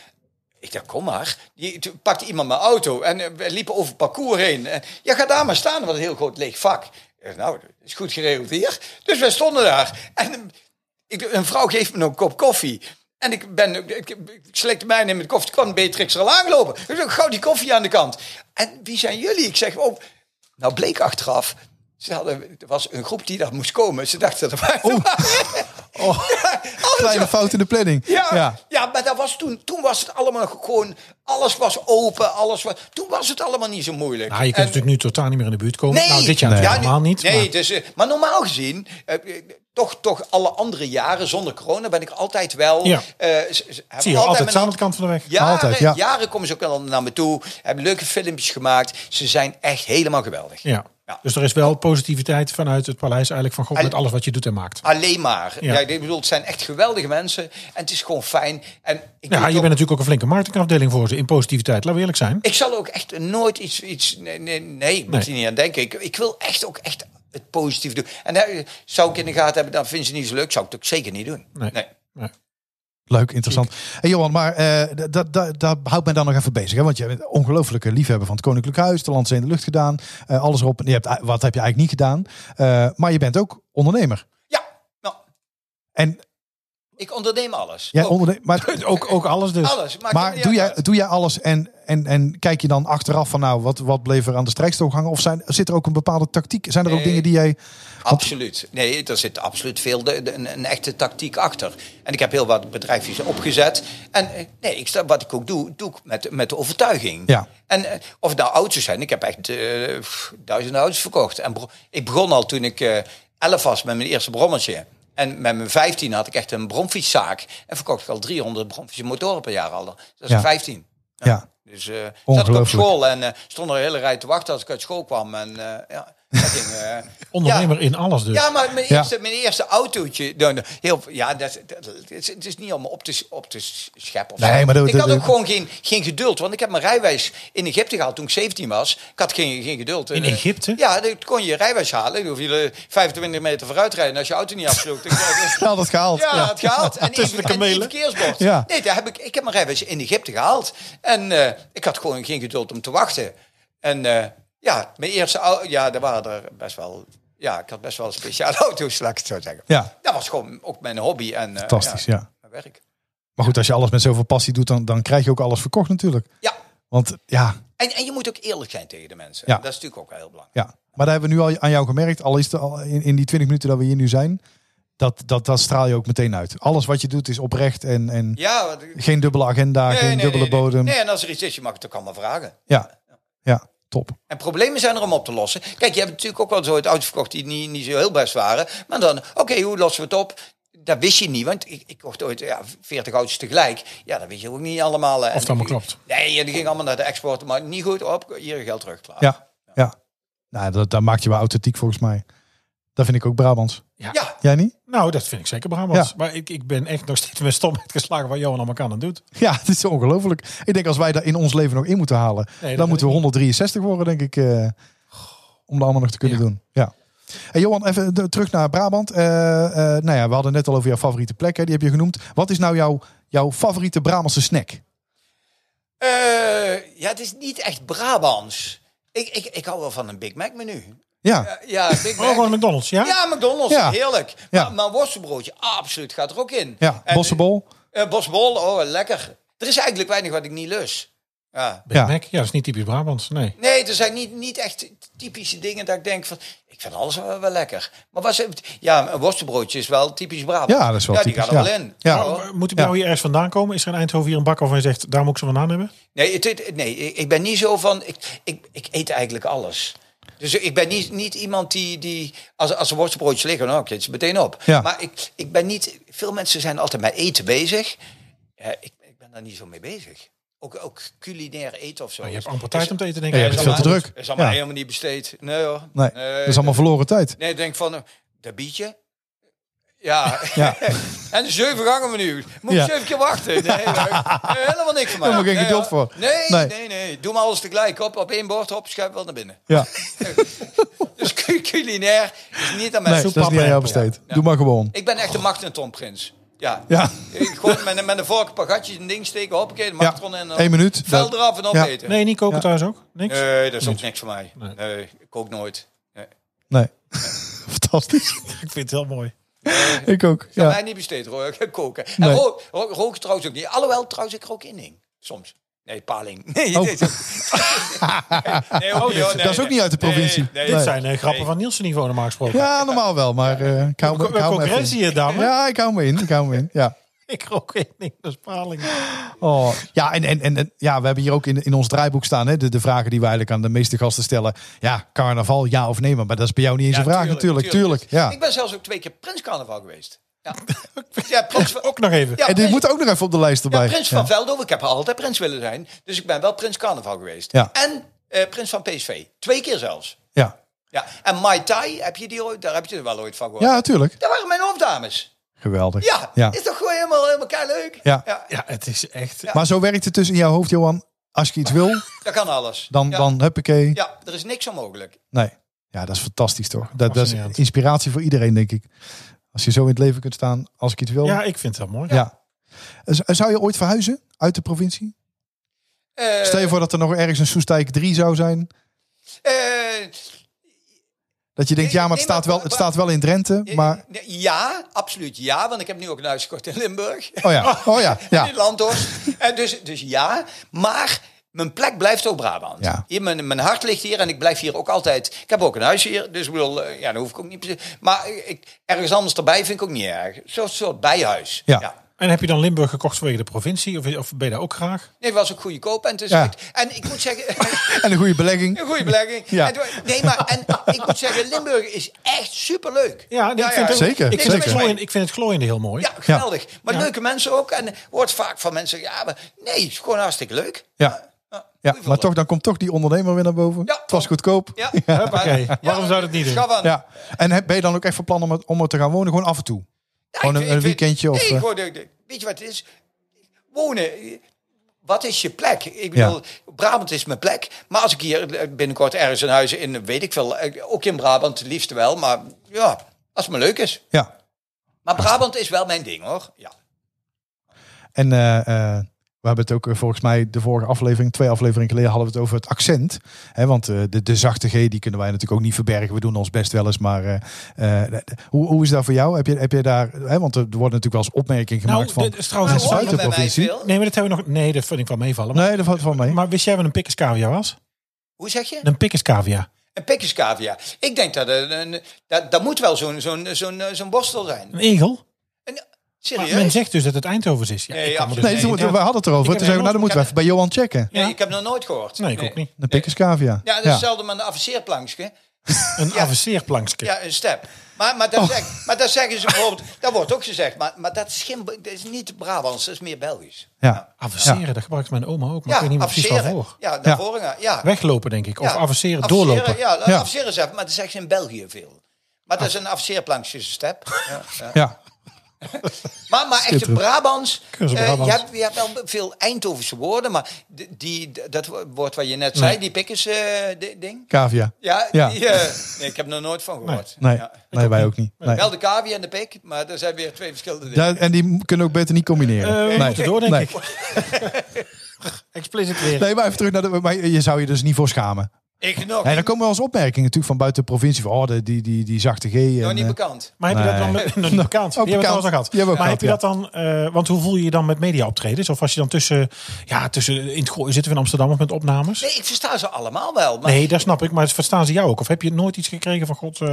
S6: Ik dacht, kom maar. Die, toen pakte iemand mijn auto en eh, we liepen over het parcours heen. En, ja, ga daar maar staan, wat een heel groot leeg vak. Ik dacht, nou, dat is goed geregeld hier. Dus wij stonden daar. En eh, ik, een vrouw geeft me een kop koffie. En ik, ben, ik, ik, ik slikte mij in met koffie. Toen kwam Beatrix er al aangelopen. Dus Ik zeg, gauw die koffie aan de kant. En wie zijn jullie? Ik zeg, oh... Nou, bleek achteraf... Ze hadden, er was een groep die daar moest komen. Ze dachten dat wij...
S3: Oh,
S6: Alles
S3: kleine
S6: was-
S3: fout in de planning.
S6: ja, ja.
S3: Ja.
S6: maar dat was toen, toen was het allemaal nog gewoon... Alles was open, alles was... Toen was het allemaal niet zo moeilijk.
S2: Nou, je kunt
S6: En-
S2: natuurlijk nu totaal niet meer in de buurt komen.
S6: Nee.
S2: Nou, dit jaar
S6: nee.
S2: natuurlijk helemaal
S6: nu-
S2: niet.
S6: Nee,
S2: maar-
S6: dus, eh, maar normaal gezien, eh, eh, toch, toch alle andere jaren zonder corona ben ik altijd wel...
S2: Ja.
S6: eh, s- s- heb
S2: Zie je,
S6: altijd
S2: altijd
S6: mijn-
S2: staan aan de kant van de weg.
S6: Jaren,
S3: Altijd, ja.
S6: jaren komen ze ook wel naar me toe. Hebben leuke filmpjes gemaakt. Ze zijn echt helemaal geweldig.
S2: Ja.
S6: Ja.
S2: Dus er is wel positiviteit vanuit het paleis eigenlijk van God met alles wat je doet en maakt.
S6: Alleen maar.
S2: Ja.
S6: Ja. ik bedoel, het zijn echt geweldige mensen. En het is gewoon fijn. En ik,
S2: Ja,
S6: weet
S2: je
S6: ook-
S2: bent natuurlijk ook een flinke marketingafdeling voor ze in positiviteit. Laten we eerlijk zijn.
S6: ik zal ook echt nooit iets... iets nee, nee, nee, ik moet
S2: Nee.
S6: hier niet aan denken. Ik, ik wil echt ook echt het positief doen. En daar, zou ik in de gaten hebben, dan vind ze niet zo leuk. Zou ik het ook zeker niet doen.
S2: Nee.
S3: Leuk, interessant. Hey Johan, maar eh, dat- dat- dat- daar houdt men dan nog even bezig. Hè? Want je bent een ongelofelijke liefhebber van het Koninklijk Huis, de Landzee in de Lucht gedaan, eh, alles erop. en- Je hebt, wat heb je eigenlijk niet gedaan? Eh, maar je bent ook ondernemer.
S6: Ja, nou,
S3: En
S6: ik onderneem alles.
S3: jij
S6: Ook.
S3: onderneemt, maar,
S2: Ook, ook alles dus.
S6: Alles. maakt het
S3: maar
S6: niet
S3: doe,
S6: uit.
S3: jij, doe jij alles en, en, en kijk je dan achteraf van nou, wat, wat bleef er aan de strijkstok hangen? Of zijn, zit er ook een bepaalde tactiek? Zijn er ook
S6: Nee.
S3: dingen die jij...
S6: Absoluut. Nee, er zit absoluut veel de, de- een, een echte tactiek achter. En ik heb heel wat bedrijfjes opgezet. En eh, nee, ik sta, wat ik ook doe, doe ik met, met de overtuiging.
S3: Ja.
S6: En eh, of het nou auto's zijn, ik heb echt eh, pff, duizenden auto's verkocht. En bro- ik begon al toen ik eh, 11 was met mijn eerste brommetje. En met mijn 15 had ik echt een bromfietszaak. En verkocht ik al 300 bromfietsen motoren per jaar al. Dat is
S3: Ja.
S6: 15.
S3: Ja,
S6: Dus eh zat ik op
S3: Ongelooflijk.
S6: school en eh, stond er een hele rij te wachten als ik uit school kwam. En eh, ja, dat ging, eh,
S2: Ondernemer in alles dus.
S6: ja, maar mijn,
S3: Ja.
S6: Eerste, mijn eerste autootje. dan- dan- Heel, ja, dat, dat- het, is, het is niet om op te, op te scheppen. of zo.
S3: Nee, maar dat-
S6: ik had
S3: dat-
S6: ook gewoon geen, geen geduld. Want ik heb mijn rijwijs in Egypte gehaald toen ik 17 was. Ik had geen, geen geduld.
S2: In
S6: Eh,
S2: Egypte?
S6: Ja, dan kon je je rijwijs halen. Dan hoef je er 25 meter vooruit rijden als je auto niet afsloeg. Dan krijg je-
S3: Nou, dat gehaald.
S6: ja, het gehaald. En
S2: Tussen de
S6: één- en één
S2: kamelen.
S6: verkeersbord.
S3: Ja.
S6: Nee, daar heb ik, ik heb mijn rijwijs in Egypte gehaald. En eh, ik had gewoon geen geduld om te wachten. En eh, ja, mijn eerste auto... Ja, daar waren er best wel... Ja, ik had best wel een speciale auto's, laat ik het zo zeggen.
S3: Ja,
S6: Dat was gewoon ook mijn hobby en eh,
S3: fantastisch,
S6: ja,
S3: ja.
S6: mijn werk.
S3: Maar goed, als je alles met zoveel passie doet, dan, dan krijg je ook alles verkocht natuurlijk.
S6: Ja,
S3: Want ja,
S6: en, en je moet ook eerlijk zijn tegen de mensen.
S3: Ja.
S6: Dat is natuurlijk ook wel heel belangrijk.
S3: Ja, maar daar hebben we nu al aan jou gemerkt, al is het al in, in die 20 minuten dat we hier nu zijn, dat, dat, dat straal je ook meteen uit. Alles wat je doet is oprecht en, en
S6: Ja, want-
S3: geen dubbele agenda,
S6: nee,
S3: geen
S6: nee,
S3: dubbele
S6: nee, nee.
S3: bodem.
S6: Nee, en als er iets is, je mag het ook allemaal vragen.
S3: Ja. ja, top.
S6: En problemen zijn er om op te lossen. Kijk, je hebt natuurlijk ook wel zo het auto's verkocht die niet, niet zo heel best waren. Maar dan, oké, hoe lossen we het op? Dat wist je niet, want ik, ik kocht ooit ja, 40 auto's tegelijk. Ja, dat weet je ook niet allemaal. Of
S2: het allemaal klopt.
S6: Nee, en die ging allemaal naar de export, maar niet goed op. Hier je geld terug, klaar.
S3: Ja, ja. Nou, dat, dat maakt je wel authentiek volgens mij. Dat vind ik ook Brabants.
S6: ja.
S3: Jij niet?
S2: Nou, dat vind ik zeker Brabants.
S3: Ja.
S2: Maar ik, ik ben echt nog steeds met stomheid geslagen wat Johan allemaal kan en doet.
S3: Ja, het is ongelooflijk. Ik denk als wij dat in ons leven nog in moeten halen,
S2: Nee, dat
S3: dan
S2: weet
S3: moeten
S2: ik
S3: we 163 worden, denk ik. eh, om dat allemaal nog te kunnen
S2: Ja.
S3: doen. Ja. Hey Johan, even de- terug naar Brabant. Eh, eh, nou ja, we hadden net al over jouw favoriete plek, hè, die heb je genoemd. Wat is nou jouw, jouw favoriete Brabantse snack?
S6: Eh, ja, het is niet echt Brabants. Ik, ik, ik hou wel van een Big Mac menu.
S3: Ja,
S6: Eh, ja, Big
S2: Oh, gewoon
S6: Mac.
S2: McDonald's, ja?
S6: Ja, McDonald's,
S3: Ja.
S6: heerlijk.
S3: Ja.
S6: Maar, maar een worstenbroodje, absoluut, gaat er ook in.
S3: ja
S6: En-
S3: bossenbol.
S6: Eh, bosbol, oh, lekker. Er is eigenlijk weinig wat ik niet lus. Ja.
S2: Big
S3: Ja.
S2: Mac? Ja, dat is niet typisch Brabants, nee.
S6: Nee, er zijn niet, niet echt typische dingen dat ik denk van... Ik vind alles wel, wel lekker. Maar was het, ja, een worstenbroodje is wel typisch Brabant.
S3: Ja, dat is wel
S6: Ja, die
S3: typisch.
S6: gaat er
S3: ja.
S6: wel in.
S3: Ja.
S6: Oh,
S2: Maar Moet ik nou hier ergens vandaan komen? Is er in Eindhoven hier een bak waarvan je zegt, daar moet ik ze vandaan hebben?
S6: Nee, het, het- nee, ik ik ben niet zo van... Ik, ik, ik eet eigenlijk alles. Dus ik ben niet, niet iemand die... die als, als er worstenbroodjes liggen, nou, ik eet ze meteen op.
S3: Ja.
S6: Maar ik, ik ben niet... Veel mensen zijn altijd met eten bezig. Ja, ik, ik ben daar niet zo mee bezig. Ook, ook culinair eten of zo.
S3: Oh,
S2: Maar je hebt amper tijd om te eten, denk
S3: Ja,
S2: ik.
S3: je hebt
S6: Dat
S3: veel te druk.
S6: Dat is allemaal
S3: Ja.
S6: helemaal niet besteed. Nee hoor.
S3: Nee,
S2: eh,
S3: dat is allemaal verloren tijd.
S6: Nee, ik denk van, eh, dat biedje. Ja.
S3: Ja.
S6: en de zeven gangen menu. Moet
S3: Ja.
S6: je zeven keer wachten. Nee, maar- nee, helemaal niks van mij.
S3: Helemaal geen
S6: Nee,
S3: geduld
S6: hoor.
S3: voor.
S6: Nee,
S3: Nee.
S6: nee, nee, Doe maar alles tegelijk. Op, op één bord, op, schuif wel naar binnen.
S3: Ja,
S6: Dus cu- culinair is niet aan mij.
S3: nee, dat is niet aan jou besteed.
S6: Ja.
S3: Doe maar gewoon.
S6: Ik ben echt een magnetronprins. Ja.
S3: Ja,
S6: Ik gewoon met, een- met een vork een paar gatjes een ding steken. Hoppakee, de
S3: ja.
S6: magnetron en dan
S3: één minuut.
S6: vel
S3: Dat-
S6: eraf en
S3: Ja.
S6: opeten.
S2: Nee, niet koken thuis ook? Niks?
S6: Nee, dat is ook
S2: Niet.
S6: niks voor mij.
S2: Nee.
S6: Nee, ik kook nooit. Nee.
S3: Nee, fantastisch.
S2: Ik vind het heel mooi.
S3: Ik ook.
S6: Kan
S3: Ja.
S6: mij niet besteed hoor, koken. En
S3: Nee.
S6: rook, rook, rook trouwens ook niet. Alhoewel trouwens ik rook inding. Soms. Nee, paling. Nee,
S3: Oh.
S6: dit is ook- nee, hoor, nee, hoor, nee,
S3: dat is ook
S6: nee.
S3: niet uit de provincie.
S6: Nee, nee,
S2: Dit
S3: Nee.
S2: zijn eh, grappen van Nielsen niveau normaal gesproken.
S3: Ja, normaal wel, maar eh ik hou me, ik
S2: Co-
S3: hou me even in.
S2: Concurrentie hier, dame.
S3: Ja, ik hou me in. Ik hou me in. Ja.
S2: Ik rook in, niet dat is paling.
S3: Oh. Ja, en, en, en en ja, we hebben hier ook in, in ons draaiboek staan hè, de, de vragen die wij eigenlijk aan de meeste gasten stellen. Ja, carnaval, ja of nee, maar dat is bij jou niet eens
S6: Ja,
S3: een vraag natuurlijk. Tuurlijk,
S6: Ik
S3: ja.
S6: ben zelfs ook twee keer Prins Carnaval geweest. Ja, ja Prins van...
S2: Ook nog even.
S3: En
S6: Ja,
S3: dit
S6: Prins-
S3: moet ook nog even op de lijst
S6: ja,
S3: erbij.
S6: Prins van Veldhoven. Ik heb altijd Prins willen zijn. Dus ik ben wel Prins Carnaval geweest.
S3: Ja.
S6: En eh, Prins van PSV. Twee keer zelfs.
S3: Ja.
S6: Ja, En Mai Tai, heb je die ooit? Daar heb je er wel ooit van gehoord.
S3: Ja, tuurlijk.
S6: Dat waren mijn hoofddames.
S3: Geweldig.
S6: Ja,
S3: ja.
S6: is toch gewoon helemaal, helemaal kei leuk?
S3: Ja.
S2: Ja, het is echt...
S3: Maar zo werkt het dus in jouw hoofd, Johan. Als je iets wil,
S6: dat kan alles.
S3: dan,
S6: ja.
S3: dan huppakee.
S6: ja, er is niks onmogelijk.
S3: Nee. Ja, dat is fantastisch toch? Dat, dat is
S2: Fascinerend.
S3: inspiratie voor iedereen, denk ik. Als je zo in het leven kunt staan, als ik iets wil.
S2: Ja, ik vind dat mooi.
S3: Ja. Z- Zou je ooit verhuizen uit de provincie?
S6: Eh,
S3: Stel je voor dat er nog ergens een Soestijk 3 zou zijn.
S6: eh,
S3: Dat je denkt,
S6: Nee,
S3: ja, maar het
S6: nee,
S3: staat
S6: maar-
S3: wel, het staat wel in Drenthe. Maar,
S6: eh, Ja, absoluut ja. Want ik heb nu ook een huis gekocht in Limburg.
S3: oh ja, oh ja,
S6: In
S3: ja.
S6: Landhorst. En dus, dus ja, maar mijn plek blijft ook Brabant.
S3: Ja.
S6: Hier, mijn, mijn hart ligt hier en ik blijf hier ook altijd. Ik heb ook een huis hier, dus ik bedoel, eh, ja, dan hoef ik ook niet. per se- Maar eh, ik, ergens anders erbij vind ik ook niet erg. Zo'n soort bijhuis.
S3: Ja.
S2: En heb je dan Limburg gekocht vanwege de provincie? Of, of ben je daar ook graag?
S6: Nee, het was ook goedkoop en het is
S3: Ja.
S6: goed. En ik moet zeggen.
S3: En een goede belegging.
S6: Een goede belegging.
S3: Ja.
S6: En toen- nee, maar en, ik moet zeggen, Limburg is echt superleuk.
S2: Ja, nee, ik vind het ook-
S3: Zeker,
S2: Ik vind, het
S3: zeker.
S2: glooiende- ik vind het glooiende heel mooi.
S6: Ja, geweldig. Maar leuke mensen ook. En hoort vaak van mensen, ja, maar nee, het is gewoon hartstikke leuk.
S3: Ja, ja
S6: goeie
S3: maar
S6: voorbeeld.
S3: toch, dan komt toch die ondernemer weer naar boven.
S6: Ja.
S3: Het was goedkoop.
S6: Ja,
S2: Huppakee. Waarom zou dat niet doen?
S6: Schaf aan.
S3: Ja. En heb, ben je dan ook echt van plan om, het, om er te gaan wonen? Gewoon af en toe?
S6: Ja,
S3: gewoon
S6: ik
S3: een,
S6: vind-
S3: een
S6: ik vind-
S3: weekendje? Of,
S6: nee,
S3: eh,
S6: gewoon, de- de- weet je wat het is? Wonen. eh, Wat is je plek? Ik bedoel, Brabant is mijn plek. Maar als ik hier eh, binnenkort ergens een huis in, weet ik veel, eh, ook in Brabant liefst wel. Maar ja, als het me leuk is.
S3: ja.
S6: Maar Brabant is wel mijn ding, hoor. Ja.
S3: En eh, eh, we hebben het ook eh, volgens mij de vorige aflevering, twee afleveringen geleden, hadden we het over het accent. Hè, want eh, de, de zachte G, die kunnen wij natuurlijk ook niet verbergen. We doen ons best wel eens. Maar eh, eh, hoe, hoe is dat voor jou? Heb je, heb je daar, hè, want er wordt natuurlijk wel eens opmerking
S2: Nou,
S3: gemaakt van.
S2: dit is trouwens
S3: het
S2: een
S6: Hoor je
S3: zuiden-
S6: bij mij
S3: provincie.
S6: veel?
S2: Nee, maar dat hebben we nog... Nee, dat vind ik wel meevallen. Maar,
S3: Nee, dat valt wel mee.
S2: maar wist jij wat een pikkerskavia was?
S6: Hoe zeg je?
S2: Een pikkerskavia.
S6: Een pikkerskavia. Ik denk dat er een, dat, dat moet wel zo'n zo'n zo'n eh, zo'n borstel zijn.
S2: Een egel.
S6: Een-
S2: Maar
S6: serieus?
S2: men zegt dus dat het Eindhovens is. Ja,
S6: Nee,
S2: ik kan me
S6: absoluut
S2: dus
S3: Nee,
S6: Nee,
S3: toen,
S2: niet-
S3: we hadden het erover.
S2: heb
S3: Toen zeiden we,
S2: helemaal-
S3: nou, dan moeten we even bij Johan checken.
S6: Nee,
S2: Ja.
S6: ik heb nog nooit gehoord.
S2: Nee, ik ook niet.
S3: De pikkerskavia.
S6: Ja, dus dat is hetzelfde met een avanceerplankje.
S2: Een avanceerplankske.
S6: Ja, een step. Maar, maar,
S2: Oh.
S6: dat zeg, maar dat zeggen ze bijvoorbeeld, dat wordt ook gezegd, maar, maar dat, is geen, dat is niet Brabants, dat is meer Belgisch.
S3: Ja.
S2: Avanceren, dat gebruikt mijn oma ook, maar ik weet niet meer precies
S6: avanceren.
S2: waarvoor.
S6: Ja, naar voren gaan, ja.
S2: Weglopen, denk ik. Of
S6: ja.
S2: avanceren,
S6: Avanceren,
S2: doorlopen.
S6: Ja,
S3: Ja.
S6: avanceren is even, maar dat zeggen ze in België veel. Maar dat is
S2: Ah.
S6: een avanceerplankje, is een step. Ja, ja.
S3: Ja.
S6: Maar, maar echt de
S3: Schitterend.
S6: Brabants.
S2: Kunnen ze
S6: eh,
S2: Brabants?
S6: je, hebt, je hebt wel veel Eindhovense woorden, maar d- die, d- dat woord wat je net zei, die pikkers eh, di- ding.
S3: Cavia.
S6: Ja,
S3: Ja.
S6: Die, eh, nee, ik heb er nog nooit van gehoord.
S3: Nee,
S6: Ja.
S3: nee wij ook niet. Nee.
S6: Wel de cavia en de pik, maar dat zijn weer twee verschillende dingen.
S3: Ja, en die kunnen ook beter niet combineren.
S2: Eh, we
S3: nee.
S2: moeten door, denk
S3: Nee.
S2: ik. Explicit weer.
S3: Nee, maar even terug naar de... Maar je zou je dus niet voor schamen.
S6: Ik nog,
S3: En dan komen wel eens opmerkingen natuurlijk van buiten de provincie. Van, oh, de- die, die, die zachte G.
S6: nog
S3: En,
S6: niet
S3: eh,
S6: bekend.
S2: Maar heb je dat
S3: Nee.
S2: dan met, nog niet bekend? Die
S3: Oh,
S2: hebben we
S3: bekend.
S2: trouwens al gehad.
S3: Die hebben we
S2: maar
S3: ook
S2: heb je dat dan, eh, want hoe voel je je dan met mediaoptredens? Of als je dan tussen, ja, tussen in het gooi zitten we in Amsterdam of met opnames?
S6: Nee, ik versta ze allemaal wel. Maar
S2: Nee, dat snap ik, maar verstaan ze jou ook? Of heb je nooit iets gekregen van god, eh, kan,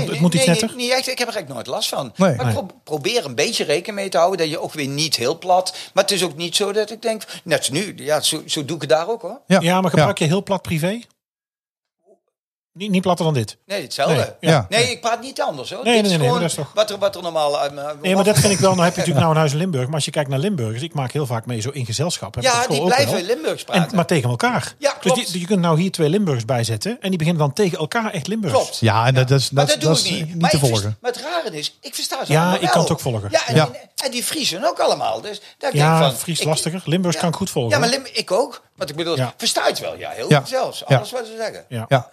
S6: Nee,
S2: het moet iets
S6: nee,
S2: netter?
S6: Niet echt, ik heb er eigenlijk nooit last van.
S3: Nee.
S6: maar ik pro- probeer een beetje rekening mee te houden dat je ook weer niet heel plat. Maar het is ook niet zo dat ik denk, net als nu, ja, zo, zo doe ik het daar ook hoor.
S3: ja,
S2: ja, maar gebruik je heel plat privé? Niet, niet platter dan dit.
S6: Nee,
S2: Nee,
S6: hetzelfde.
S2: ja.
S3: Ja.
S6: Nee, ik praat niet anders hoor.
S2: Nee,
S6: Dit
S2: nee, nee,
S6: is
S2: maar
S6: gewoon
S2: dat is toch-
S6: Wat er, wat er normaal eh, uit mijn-
S2: Nee, maar dat vind ik wel. Nou heb je natuurlijk nou een huis in Limburg. Maar als je kijkt naar Limburgers, ik maak heel vaak mee zo in gezelschap. Heb ik op
S6: Ja,
S2: school
S6: die
S2: ook
S6: blijven
S2: wel.
S6: Limburgs praten.
S2: En, maar tegen elkaar.
S6: Ja, klopt.
S2: Dus die- je kunt nou hier twee Limburgers bijzetten. En die beginnen dan tegen elkaar echt Limburgs.
S6: Klopt.
S3: Ja, en dat, dat is,
S6: Maar
S3: dat,
S6: dat,
S3: dat
S6: doe
S3: is
S6: ik niet.
S3: niet
S6: maar,
S3: te
S6: ik vers-
S3: volgen.
S6: maar het rare is, ik versta ze
S2: Ja,
S6: allemaal
S2: ik kan
S6: wel.
S2: het ook volgen.
S6: Ja, en,
S3: Ja.
S6: en- en die Friesen ook allemaal. Dus dat ik
S2: Ja,
S6: denk van,
S2: Fries
S6: ik-
S2: lastiger. Limburgs kan ik goed volgen,
S6: Ja, maar
S2: hoor.
S6: Lim- ik ook. Want ik bedoel,
S2: Ja.
S6: versta je het wel. Ja, heel
S3: Ja.
S6: goed zelfs.
S3: Ja.
S6: Alles wat ze zeggen.
S2: Ja.
S3: Ja.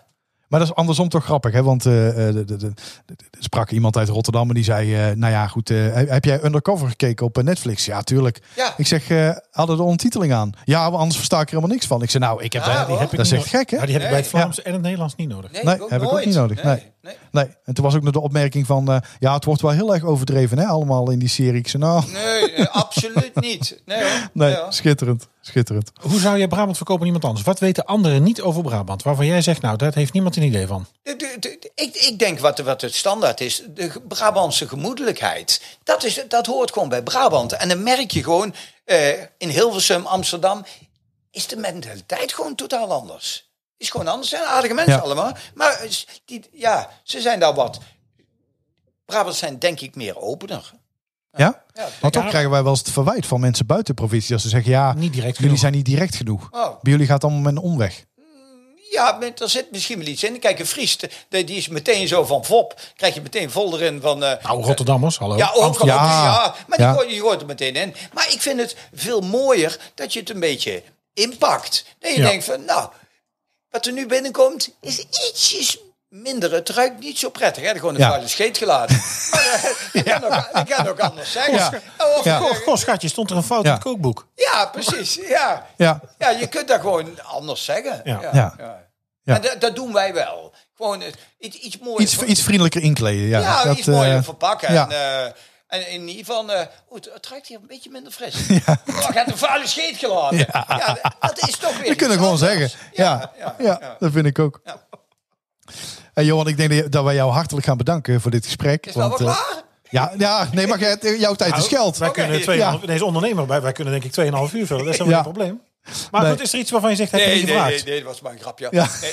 S3: Maar dat is andersom toch grappig, hè? Want eh, eh, de- de- de- de- de- sprak iemand uit Rotterdam en die zei... eh, nou ja, goed, eh, heb heb jij Undercover gekeken op eh, Netflix? Ja, tuurlijk.
S6: Ja.
S3: Ik zeg, eh hadden de ondertiteling aan? Ja, maar anders versta ik er helemaal niks van. Ik zei, nou, ik heb...
S6: Ja,
S3: daar-
S6: hoor.
S3: die heb ik dat is
S2: niet
S3: echt
S2: nodig.
S3: gek, hè?
S2: Ja, die heb ik bij het
S6: Nee.
S2: Vlaams en het Nederlands niet nodig.
S6: Nee,
S3: Nee,
S6: ik ook
S3: heb ik ook
S6: nooit.
S3: niet nodig. Nee.
S6: nee.
S3: Nee, en toen was ook nog de opmerking van... eh, ja, het wordt wel heel erg overdreven, hè? Allemaal in die serie. Ik zei, nou...
S6: Nee, eh, absoluut niet. Nee, hoor.
S3: Nee,
S6: Ja, hoor.
S3: schitterend. Schitterend.
S2: Hoe zou jij Brabant verkopen aan iemand anders? Wat weten anderen niet over Brabant? Waarvan jij zegt, nou, daar heeft niemand een idee van.
S6: De- de- de- ik, ik denk wat, de- wat het standaard is, de ge- Brabantse gemoedelijkheid. Dat, is, dat hoort gewoon bij Brabant. En dan merk je gewoon, eh, in Hilversum, Amsterdam, is de mentaliteit gewoon totaal anders. Is gewoon anders. Het zijn aardige mensen
S3: Ja.
S6: allemaal. Maar eh, s- die, ja, ze zijn daar wat. Brabants zijn denk ik meer opener.
S3: Ja?
S6: Ja,
S3: Maar toch krijgen wij wel eens het verwijt van mensen buiten de provincie. Dat ze zeggen, ja,
S2: Niet direct
S3: jullie
S2: genoeg.
S3: zijn niet direct genoeg.
S6: Oh.
S3: Bij jullie gaat het allemaal met een omweg.
S6: Ja, maar er zit misschien wel iets in. Kijk, een Fries, de- die is meteen zo van vop. Krijg je meteen vol erin van... eh,
S2: Nou, Rotterdammers, hallo.
S6: ja, ook
S2: Amsterdam.
S6: wel.
S3: Oh, ja.
S6: Ja. maar die
S3: Ja.
S6: gooi- je hoort er meteen in. Maar ik vind het veel mooier dat je het een beetje inpakt. Dat je
S2: Ja.
S6: denkt van, nou, wat er nu binnenkomt is ietsjes minder. Het ruikt niet zo prettig. Hè? Gewoon een
S3: Ja.
S6: vuile scheet gelaten. Maar, eh, dat, kan ook, dat kan ook anders zijn.
S3: Ja.
S6: Of-
S3: Ja.
S2: Oh,
S3: Oh,
S2: Goh, goh, schatje, stond er een fout
S3: Ja.
S2: in het kookboek.
S6: ja, precies. Ja.
S3: Ja.
S6: ja, je kunt dat gewoon anders zeggen.
S2: Ja.
S3: Ja. Ja.
S6: En dat, dat doen wij wel. Gewoon eh, iets, iets moois.
S3: Iets, iets vriendelijker inkleden. Ja,
S6: Ja,
S3: dat,
S6: iets mooier
S3: eh,
S6: verpakken.
S3: ja.
S6: En, eh, en in ieder geval, eh, oeh, het, het ruikt hier een beetje minder fris. Ja. ik heb een vuile scheet gelaten. Ja. dat is toch weer
S3: Dat kunnen we
S6: iets
S3: gewoon
S6: anders.
S3: zeggen. Ja, ja,
S6: ja, ja.
S3: dat vind ik ook.
S6: Ja.
S3: Hey, Johan, ik denk dat je- dat wij jou hartelijk gaan bedanken voor dit gesprek.
S6: Is dat wel
S3: eh,
S6: klaar? Nou,
S3: ja, ja, nee, maar jij- jouw tijd is geld.
S2: Wij
S6: Oké,
S2: kunnen twee, Deze ondernemer, wij, wij kunnen denk ik 2,5 uur vullen. Dat is helemaal
S3: Ja.
S2: geen probleem. Maar
S3: Nee.
S2: goed, is er iets waarvan je zegt, heb je
S6: Nee,
S2: niet
S6: nee,
S2: gevraagd?
S6: nee, nee, dat was maar een grapje.
S3: Ja.
S6: Nee.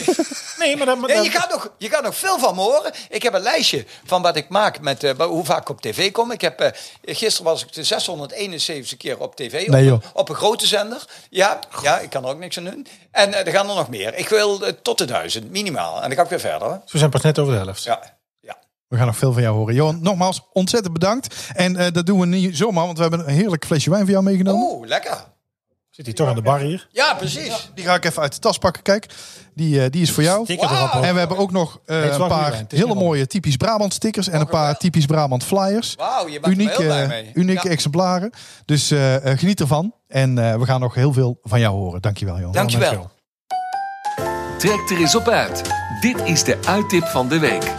S2: Nee, maar dan...
S6: Nee,
S2: dan-
S6: je, gaat nog, je gaat nog veel van me horen. Ik heb een lijstje van wat ik maak met eh, hoe vaak ik op tv kom. Ik heb, eh, gisteren was ik de 671 keer op tv.
S3: Nee,
S6: op,
S3: joh.
S6: op een grote zender. Ja, ja, ik kan er ook niks aan doen. En eh, er gaan er nog meer. Ik wil eh, tot de duizend, minimaal. En dan ga ik weer verder. hoor.
S2: We zijn pas net over de helft.
S6: Ja, ja.
S3: We gaan nog veel van jou horen. Johan, nogmaals, ontzettend bedankt. En eh, dat doen we niet zomaar, want we hebben een heerlijk flesje wijn voor jou meegenomen.
S6: Oeh, lekker.
S2: Zit hij toch aan de bar hier?
S6: Ja, precies.
S3: Die ga ik even uit de tas pakken, kijk. Die, eh, die is voor jou.
S2: Dikker erop.
S6: Wauw.
S2: hoor.
S3: En we hebben ook nog
S2: Oh.
S3: eh,
S2: het is
S3: een
S2: wel
S3: paar
S2: goede wijn. Het is
S3: hele
S2: niet
S3: mooie typisch Brabant stickers en een paar typisch Brabant flyers.
S6: Wauw, je bent er
S3: Unieke,
S6: wel heel blij mee.
S3: unieke
S6: Ja.
S3: exemplaren. Dus eh, eh, geniet ervan. En eh, we gaan nog heel veel van jou horen. Dankjewel, Johan.
S6: Dankjewel.
S1: Trek er eens op uit. Dit is de uittip van de week.